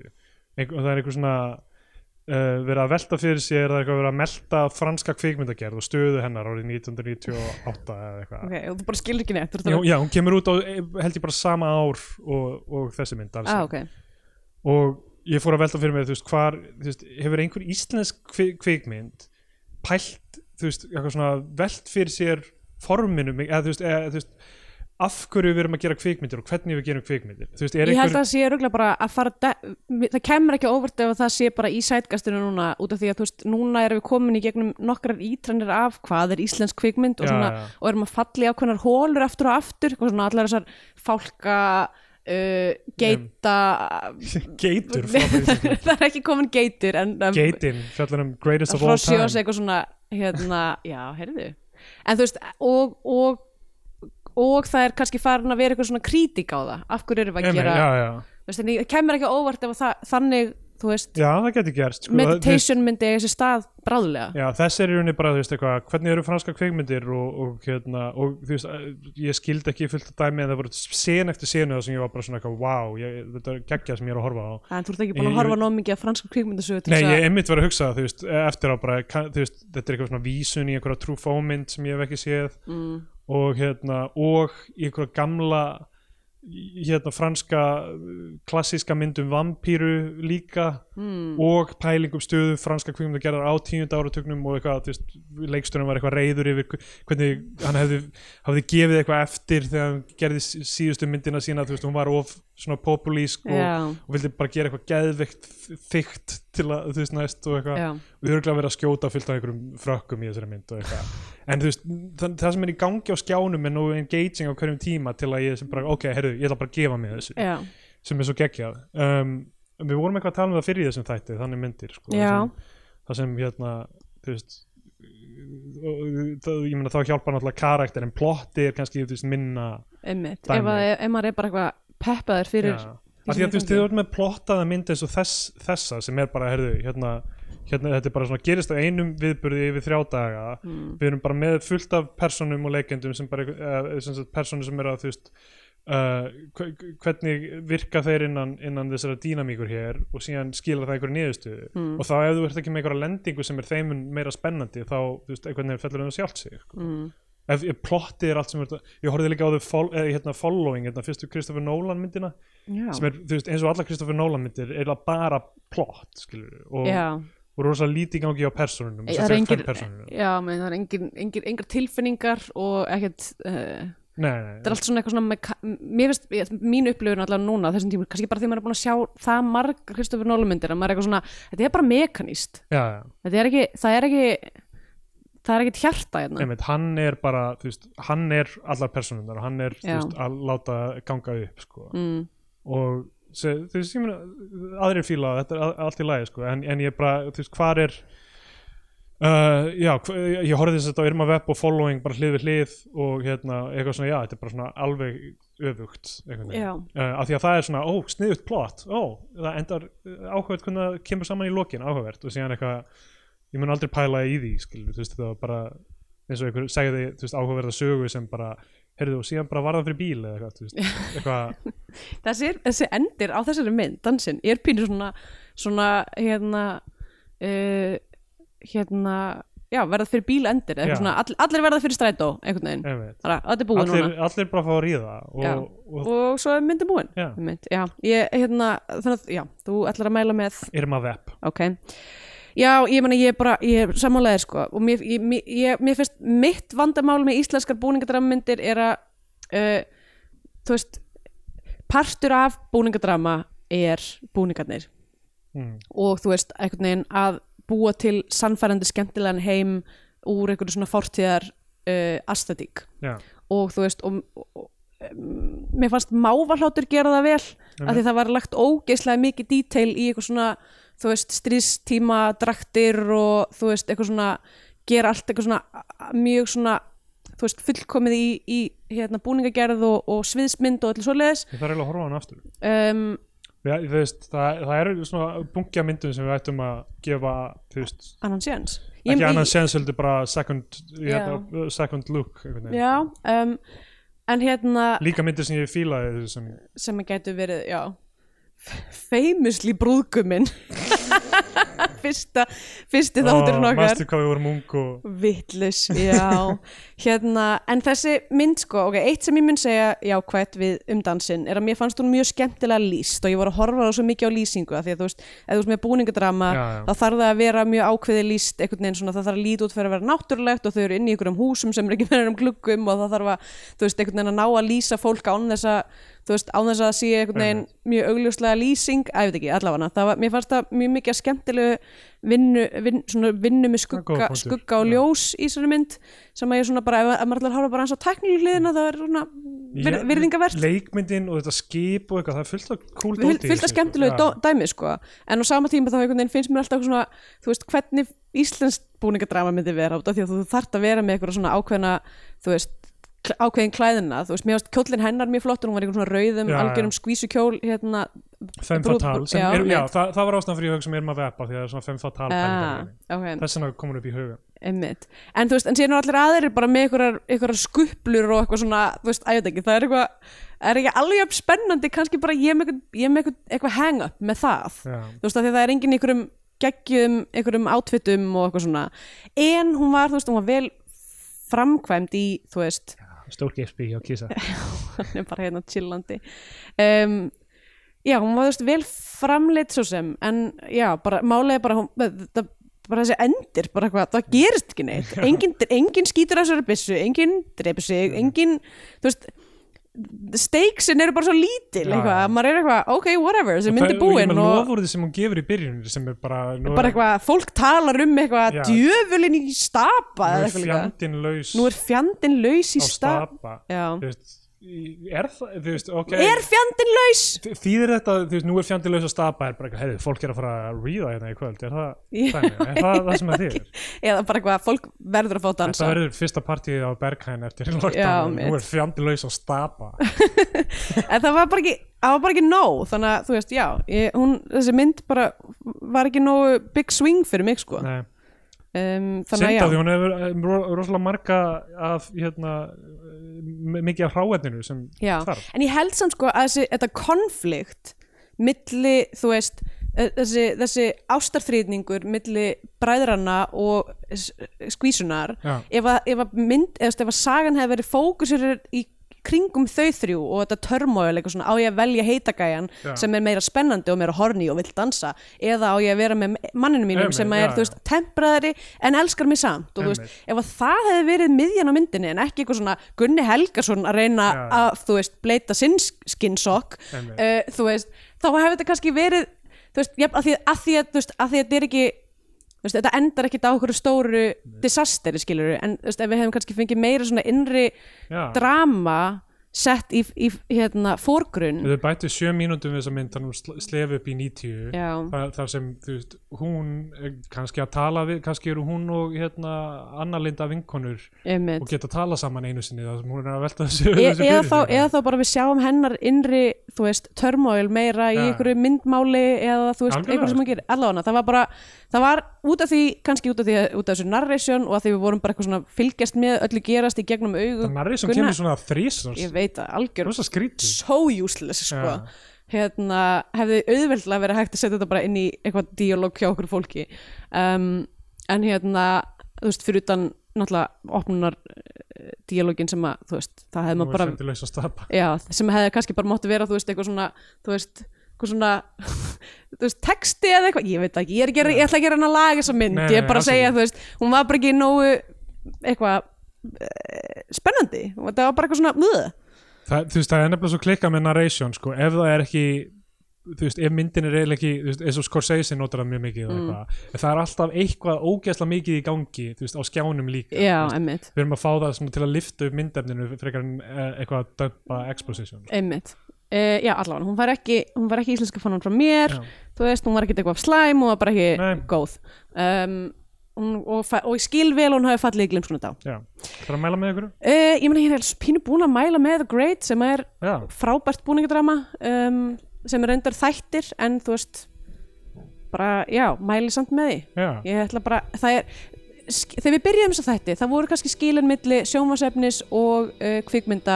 Einhver, það er einhver svona uh, verið að velta fyrir sér það er eitthvað verið að melta franska kvikmyndagerð og stöðu hennar árið 1998 eða eitthvað ok, og þú bara skilur ekki neitt þú ert Já, að- já, hún kemur út á held ég bara sama ár og, og þessi mynd Darcy ah, ok, og ég fór að velta fyrir mér þú veist, hvar, þú veist, hefur einhver íslensk kvi- kvikmynd pælt, þú veist, eitthvað svona velt fyrir sér forminu eða þú veist, eða, þú veist af hverju við erum að gera kvikmyndir og hvernig við gerum kvikmyndir þú veist, er ég held einhver, að sé röglega bara að fara de- mi- það kemur ekki á óvart ef að það sé bara í sætgastinu núna út af því að þú veist, núna erum við komin í gegnum nokkrar ítrennir af hvað er íslensk kvikmynd og, Já, svona, já. og erum að falla í ákveðnar hólur aftur og aftur, eitthvað svona allar þessar fálka uh, geita geitur frábæri- það er ekki komin geitur en um, geitin, fjallar um greatest of all hrossi time og eitthvað svona hérna, já, heyrðu en þú veist, og, og og það er kannski farin að vera eitthvað svona krítik á það, af hverju erum við að Emi, gera já, já. Þú veist, en ég- það kemur ekki á óvart ef að það, þannig, þú veist já, það getur gerst sko, það- þú veist, meditation myndi eiga sér stað bráðlega Já, þess er í rauninni bara, þú veist, eitthvað, hvernig eru franska kveikmyndir og, og hérna, og þú veist, eh, ég skildi ekki fullt að dæmi en það voru sen eftir senu þar sem ég var bara svona eitthvað, wow, ég, þetta er geggjað sem ég er að horfa á. en þú ert ekki búin Ég- að horfa nóg mikið að franska kvikmyndasögu til Nei, þess ég að einmitt var að hugsa, þú veist, eftir á bara, kann, þú veist, þetta er eitthvað svona vísun í einhverja trúfómynd sem ég hef ekki séð mm, og hérna, og í einhverja gamla, hérna, franska, eh, klassíska mynd um vampíru líka mm, og pælingum stöðu franska kvikmyndagerðar á tíunda áratugnum og eitthvað, þú veist, leiksturinn var eitthvað reyður yfir hv- hvernig hann hefði, hafði gefið eitthvað eftir þegar hann gerði sí- síðustu myndina sína, þú veist, hún var of svona populísk og, Mm. já, og vildi bara gera eitthvað geðveikt þygt til að, þú veist, næst og eitthvað já, og örgulega verið að skjóta fullt af einhverjum frökkum í þessari mynd og eitthvað en þú veist, það, það sem er í gangi á skjánum er nú engaging á hverjum tíma til að ég sem bara, ok, herru, ég ætla bara að gefa mig þessu já, sem er svo geggjað um, við vorum eitthvað að tala um það fyrir í þessum þætti þannig myndir sko, Já. það, sem, það sem hérna þú veist og, það, ég meina þá hjálpar náttúrulega karakter en plotti er kannski þú veist, minna einmitt Dæmi. ef, að, ef maður er bara eitthvað peppaður fyrir Já. því af sem því er að þú veist í gangi. þið voru með plottaða mynd eins og þess, þessa sem er bara herðu, hérna, hérna þetta er bara svona gerist á einum viðburði yfir þrjá daga Mm. við erum bara með fullt af personum og leikendum sem bara, uh, sem sagt, personum sem eru að þú veist Uh, hve- hvernig virka þeir innan, innan þessara dýnamíkur hér og síðan skila það einhverju niðurstöðu Mm. og þá ef þú ert ekki með einhverja lendingu sem er þeim mun meira spennandi þá þú veist, einhvern veginn fellur það sjálft sig sko? mm, ef ég plotti er allt sem er ég horfði líka á þau fol, eh, hérna, following hérna, fyrstu Kristoffer Nolan myndina sem já, er, þú veist, eins og alla Kristoffer Nolan myndir er bara plott, skilur og, já, og rosa lítið í gangi á persónunum Ég- sem það er fer engin- fram persónunum. já menn það er engin, engin, engar tilfinningar og ekkert uh, Nei, nei, þetta er allt svona eitthvað svona meka- mér finnst, ég- mín upplifun allavega núna á þessum tímur, kannski bara því maður er búin að sjá það marg Kristofur Nólumyndir, að maður er eitthvað svona þetta er bara mekaníst, já, já, þetta er ekki það er ekki, það er ekki hjarta hérna, einmitt, hann er bara þú veist, hann er allar persónunar og hann er þú Já. veist, að láta ganga upp sko. mm, og se, þú veist, ég meina aðrir fíla það, þetta er a- allt í lagi sko. en, en ég bara, þú veist, hvar er Uh, já, hv- ég horfði þess að þetta á Irma Web og Following bara hlið við hlið og hérna, eitthvað svona, já, þetta er bara svona alveg öfugt, einhvern veginn já, uh, af því að það er svona, ó, sniðut plot ó, það endar uh, áhugavert hvernig það kemur saman í lokin, áhugavert og síðan eitthvað, ég mun aldrei pæla í því skilur, þú veist, það var bara eins og einhver segði, þú veist, áhugaverða sögu sem bara, heyrðu, og síðan bara varða fyrir bíl eða eitthvað, þú veist, eitthvað þessi, er- þessi endir á þessari mynd, dansinn, er pínur svona svona, hérna uh, hérna já, verða fyrir bíl endir, Já. eitthvað svona all, allir verða fyrir strætó, einhvern veginn, einmitt. bara, þetta er búið allir, núna allir bara fá að ríða og, Já. og, og svo er myndin búin Já. Mynd, já, ég, hérna, þannig að, já, þú ætlar að mæla með Irma Web ok já, ég meina ég er bara, ég er sammálaðið sko og mér, ég, mér, ég, mér finnst mitt vandamál með íslenskar búningadrammyndir er að uh, þú veist partur af búningadrama er búningarnir mm. og þú veist, einhvern veginn að búa til sannfærandi skemmtilegan heim úr einhvern svona fortíðar uh, aesthetík já, og þú veist og, og, og um, mér fannst mávarhlátur gera það vel af Mhm. því það var lagt ógeislega mikið detail í eitthvað svona þú veist stríðstíma draktir og þú veist eitthvað svona gera allt eitthvað svona a- a- mjög svona þú veist fullkomið í, í hérna búningagerð og, og sviðsmynd og allir svoleiðis ég þarf eiginlega að horfa á hann aftur um, já, þú veist, það, það eru svona bunkja myndum sem við ættum að gefa, þú veist annan séns ekki annan séns heldur bara second, Já. hérna, second look einhvern veginn. já, um, en hérna líka myndir sem ég fílaði þú veist, sem, sem að gætu verið, já famously brúðguminn fyrsta fyrsti þátturinn Ó, okkar Ah, manstu hvað við vorum ung og vittlis, já hérna, en þessi mynd sko ok, eitt sem ég mun segja jákvætt við um dansinn er að mér fannst hún mjög skemmtilega lýst og ég voru að horfa á svo mikið á lýsingu af því að þú veist, ef þú veist með búningadrama Já, já. þá þarf það að vera mjög ákveði lýst einhvern veginn svona, það þarf að líta út fyrir að vera náttúrulegt og þau eru inn í einhverjum húsum sem er ekki verið um gluggum og það þarf að, þú veist, einhvern veginn að ná að lýsa fólk án þess að, þú veist, án þess að það sé einhvern veginn mjög augljóslega lýsing að ég veit ekki, allavega, það var, mér fannst það mjög mikið að skemmtilegu vinnu, vin, svona vinnu með er góður skugga, punktur. skugga og Já. ljós í svona mynd sem að ég svona bara, ef ef maður ætlar að horfa bara hans á teknílu hliðina, það er svona vir, Já, virðingavert leikmyndin og þetta skip og eitthvað, það er fullt af cool Fyl- dóti í fullt af þessu, skemmtilegu sko. dó- dæmi sko en á sama tíma þá einhvern veginn finnst mér alltaf svona, þú veist hvernig íslensk búningadrama myndi vera út af því að þú þarft að vera með eitthvað svona ákveðna þú veist kl- ákveðin klæðina, þú veist, mér varst kjólinn hennar mjög flottur, hún var einhvern svona rauðum, Já, já. algjörum skvísukjól, hérna, já, femme brú- fatale sem já, er, já, mitt. það, það var ástæðan fyrir ég hugsa mér maður vepa því að það er svona femme fatale ah, pælingar í henni. ok, þess vegna komur upp í hugan Einmitt. En þú veist, en síðan eru allir aðrir bara með einhverjar, einhverjar skuplur og eitthvað svona, þú veist, að ég veit ekki, það er eitthvað, er ekki alveg jafn spennandi, kannski bara ég er með eitthvað, ég er með eitthvað, eitthvað hang up með það. Já. Þú veist, af því að það er enginn í einhverjum geggjum, einhverjum átfittum og eitthvað svona. En hún var, þú veist, hún var vel framkvæmd í, þú veist, stór gespi hjá Kisa hann er bara hérna chillandi. Um, já, hún var, þú veist, vel framleitt svo sem, en já, bara, málega bara, hún, það, bara þessi endir, bara eitthvað, það gerist ekki neitt engin, engin skýtur af þessari byssu engin dreipur sig, Mm. engin þú veist, steiksin eru bara svo lítil, Já, eitthvað, já. maður er eitthvað ok, whatever, þessi mynd er búin og og lofurði sem hún gefur í byrjun sem er bara, nú bara er, eitthvað, fólk talar um eitthvað Já. djöfulinn í stapa nú eða er eitthvað líka. fjandinn laus nú er fjandinn laus í á stapa stapa Já. Þú veist, í- er það, þú veist, ok er fjandinn laus þýðir þetta, þú veist, nú er fjandi laus að stapa er bara eitthvað, heyrðu, fólk er að fara að ríða hérna í kvöld, er það Já, dæmi? er það, það sem það þýðir? eða bara eitthvað, fólk verður að fá að dansa Þetta verður fyrsta partíið á Berghain eftir Já, lockdown, mitt. nú er fjandi laus að stapa en það var bara ekki það var bara ekki nóg, þannig að þú veist, já ég, hún, þessi mynd bara var ekki nógu big swing fyrir mig sko um, Nei, þannig að synd já, af því hún hefur eh, ro- rosalega marga af, hérna eh, m- mikið af hráefninu sem já. þarf en ég held samt sko að þessi, þetta konflikt milli, þú veist eh, þessi, þessi ástarþrýðningur milli bræðrana og s- skvísunar Já. ef að, ef að mynd, eða þú veist, ef að sagan hefði verið fókusur í kringum þau þrjú og þetta törmóil eitthvað svona á ég að velja heitagæjan Já. sem er meira spennandi og meira horni og vill dansa eða á ég að vera með manninu mínum Einmitt, sem er, já, þú veist, tempraðari en elskar mig samt og þú veist, ef að það hefði verið miðjan á myndinni en ekki eitthvað svona Gunni Helgason að reyna Já, já. að, þú veist, bleita sinn skinnsokk Einmitt. uh, þú veist, þá hefði þetta kannski verið þú veist, jafn, að því að, því að, þú veist, að því að þetta er ekki þú veist, þetta endar ekkit á okkur stóru disasteri skilur en þú veist, ef við hefum kannski fengið meira svona innri Já. drama sett í, í hérna, fórgrunn Þau bættu sjö mínútum við þessa mynd þannig að hún slefi upp í 90 Já. þar, þar sem þú veist, hún er kannski að tala við, kannski eru hún og hérna, Anna Linda vinkonur og einmitt geta að tala saman einu sinni þar sem hún er að velta þessu, E, þessu eða, fyrir þá, sér. eða þá bara við sjáum hennar innri, þú veist, turmoil meira í Já. einhverju myndmáli eða þú veist, Algjörlega, einhverju sem hún gerir, allavega það var bara, það var út af því kannski út af því, út af þessu narration og að því við vorum bara eitthvað svona að fylgjast með öllu gerast í gegnum augu Það nærri sem Gunna- kemur svona þrís ég Það veit að algjör er svo skrítið so useless sko. Já. hérna, hefði auðveldlega verið hægt að setja þetta bara inn í eitthvað dialog hjá okkur fólki um, en hérna, þú veist, fyrir utan náttúrulega opnunar uh, dialogin sem að, þú veist, það hefði Nú maður er bara sendið laus að stapa já, sem hefði kannski bara mótti vera, þú veist, eitthvað svona þú veist, eitthvað svona þú veist, texti eða eitthvað, ég veit það ekki ég, er að gera, ég ætla að gera hann að laga þessa mynd Nei, ég er nei, bara að alls segja, ekki. þú veist, hún var bara ekki nógu eitthvað eh, spennandi, það var bara eitthvað svona nöð, það, þú veist, það er nefnilega svo klikka með narration sko, ef það er ekki þú veist, ef myndin er eiginlega ekki þú veist, eins og Scorsese notar það mjög mikið mm. en það er alltaf eitthvað ógeðslega mikið í gangi þú veist, á skjánum líka já, Þú veist, emmitt við erum að fá það svona til að lifta upp myndefninu frekar en eh, eitthvað að dömpa exposition sko. Einmitt. Uh, já, allavega, hún var ekki, hún var ekki íslenska fannan frá mér, Já. þú veist, hún var ekki eitthvað slæm, hún var bara ekki Nei. góð. Um, hún, og, fa- og ég skil vel að hún hafi fallið í glimskunu dá. Já, það er að mæla með ykkur? Uh, ég meina, ég er alls pínu búin að mæla með The Great sem er Já, frábært búningadrama, um, sem er endur þættir, en þú veist, bara, já, mæli samt með því. já, Ég ætla bara, það er, sk- þegar við byrjuðum þess að þætti, það voru kannski skilin milli sjónvarsefnis og uh, kvikmynda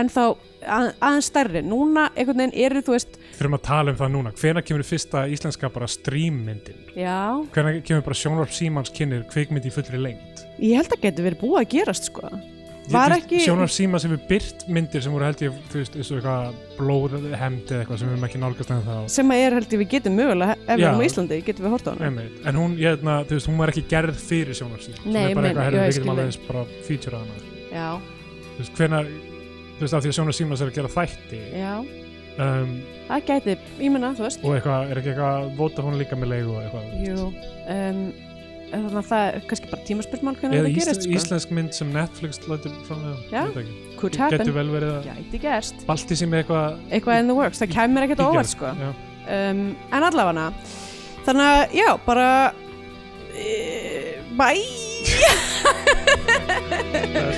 en þá að, aðeins stærri. Núna einhvern veginn eru, þú veist, við erum að tala um það núna hvenær kemur fyrsta íslenska bara streammyndin já, hvenær kemur bara sjónvarp símans kynir kvikmynd í fullri lengt ég held að getur verið búið að gerast, sko. Var ekki, Sjónar síma sem við byrt myndir sem voru held ég, þú veist, eins og eitthvað blóð eða hemd eða eitthvað sem við erum ekki nálgast en þá sem að er held ég við getum mögulega, ef við Já. erum á Íslandi, getum við horta á hana. Einmitt. En hún, ég hefna, þú veist, hún var ekki gerð fyrir sjónar síma sem er bara Nei, ég meina, eitthvað, já, herri, ég við getum skil alveg þig. eins bara feature að hana Já, Þú veist, hvenar, þú veist, af því að sjónar síma er að gera þætti já, um, það gæti, ég meina, þú veist, og eitthvað, er ekki eitthvað vota hún líka með leigu og eitthvað þú veist. jú, um, þannig að það er kannski bara tímaspyrsmál hvernig Eða ísl, þetta gerist, sko. íslensk mynd sem Netflix lætur fram með Já. Could Getur happen, vel verið að gæti gerst. balti sem eitthvað Eitthvað in the works, það kæmur ekkert á í óvart, gerð. sko. Já. um, en allavega þannig að já, eh, bara e, bæ Það er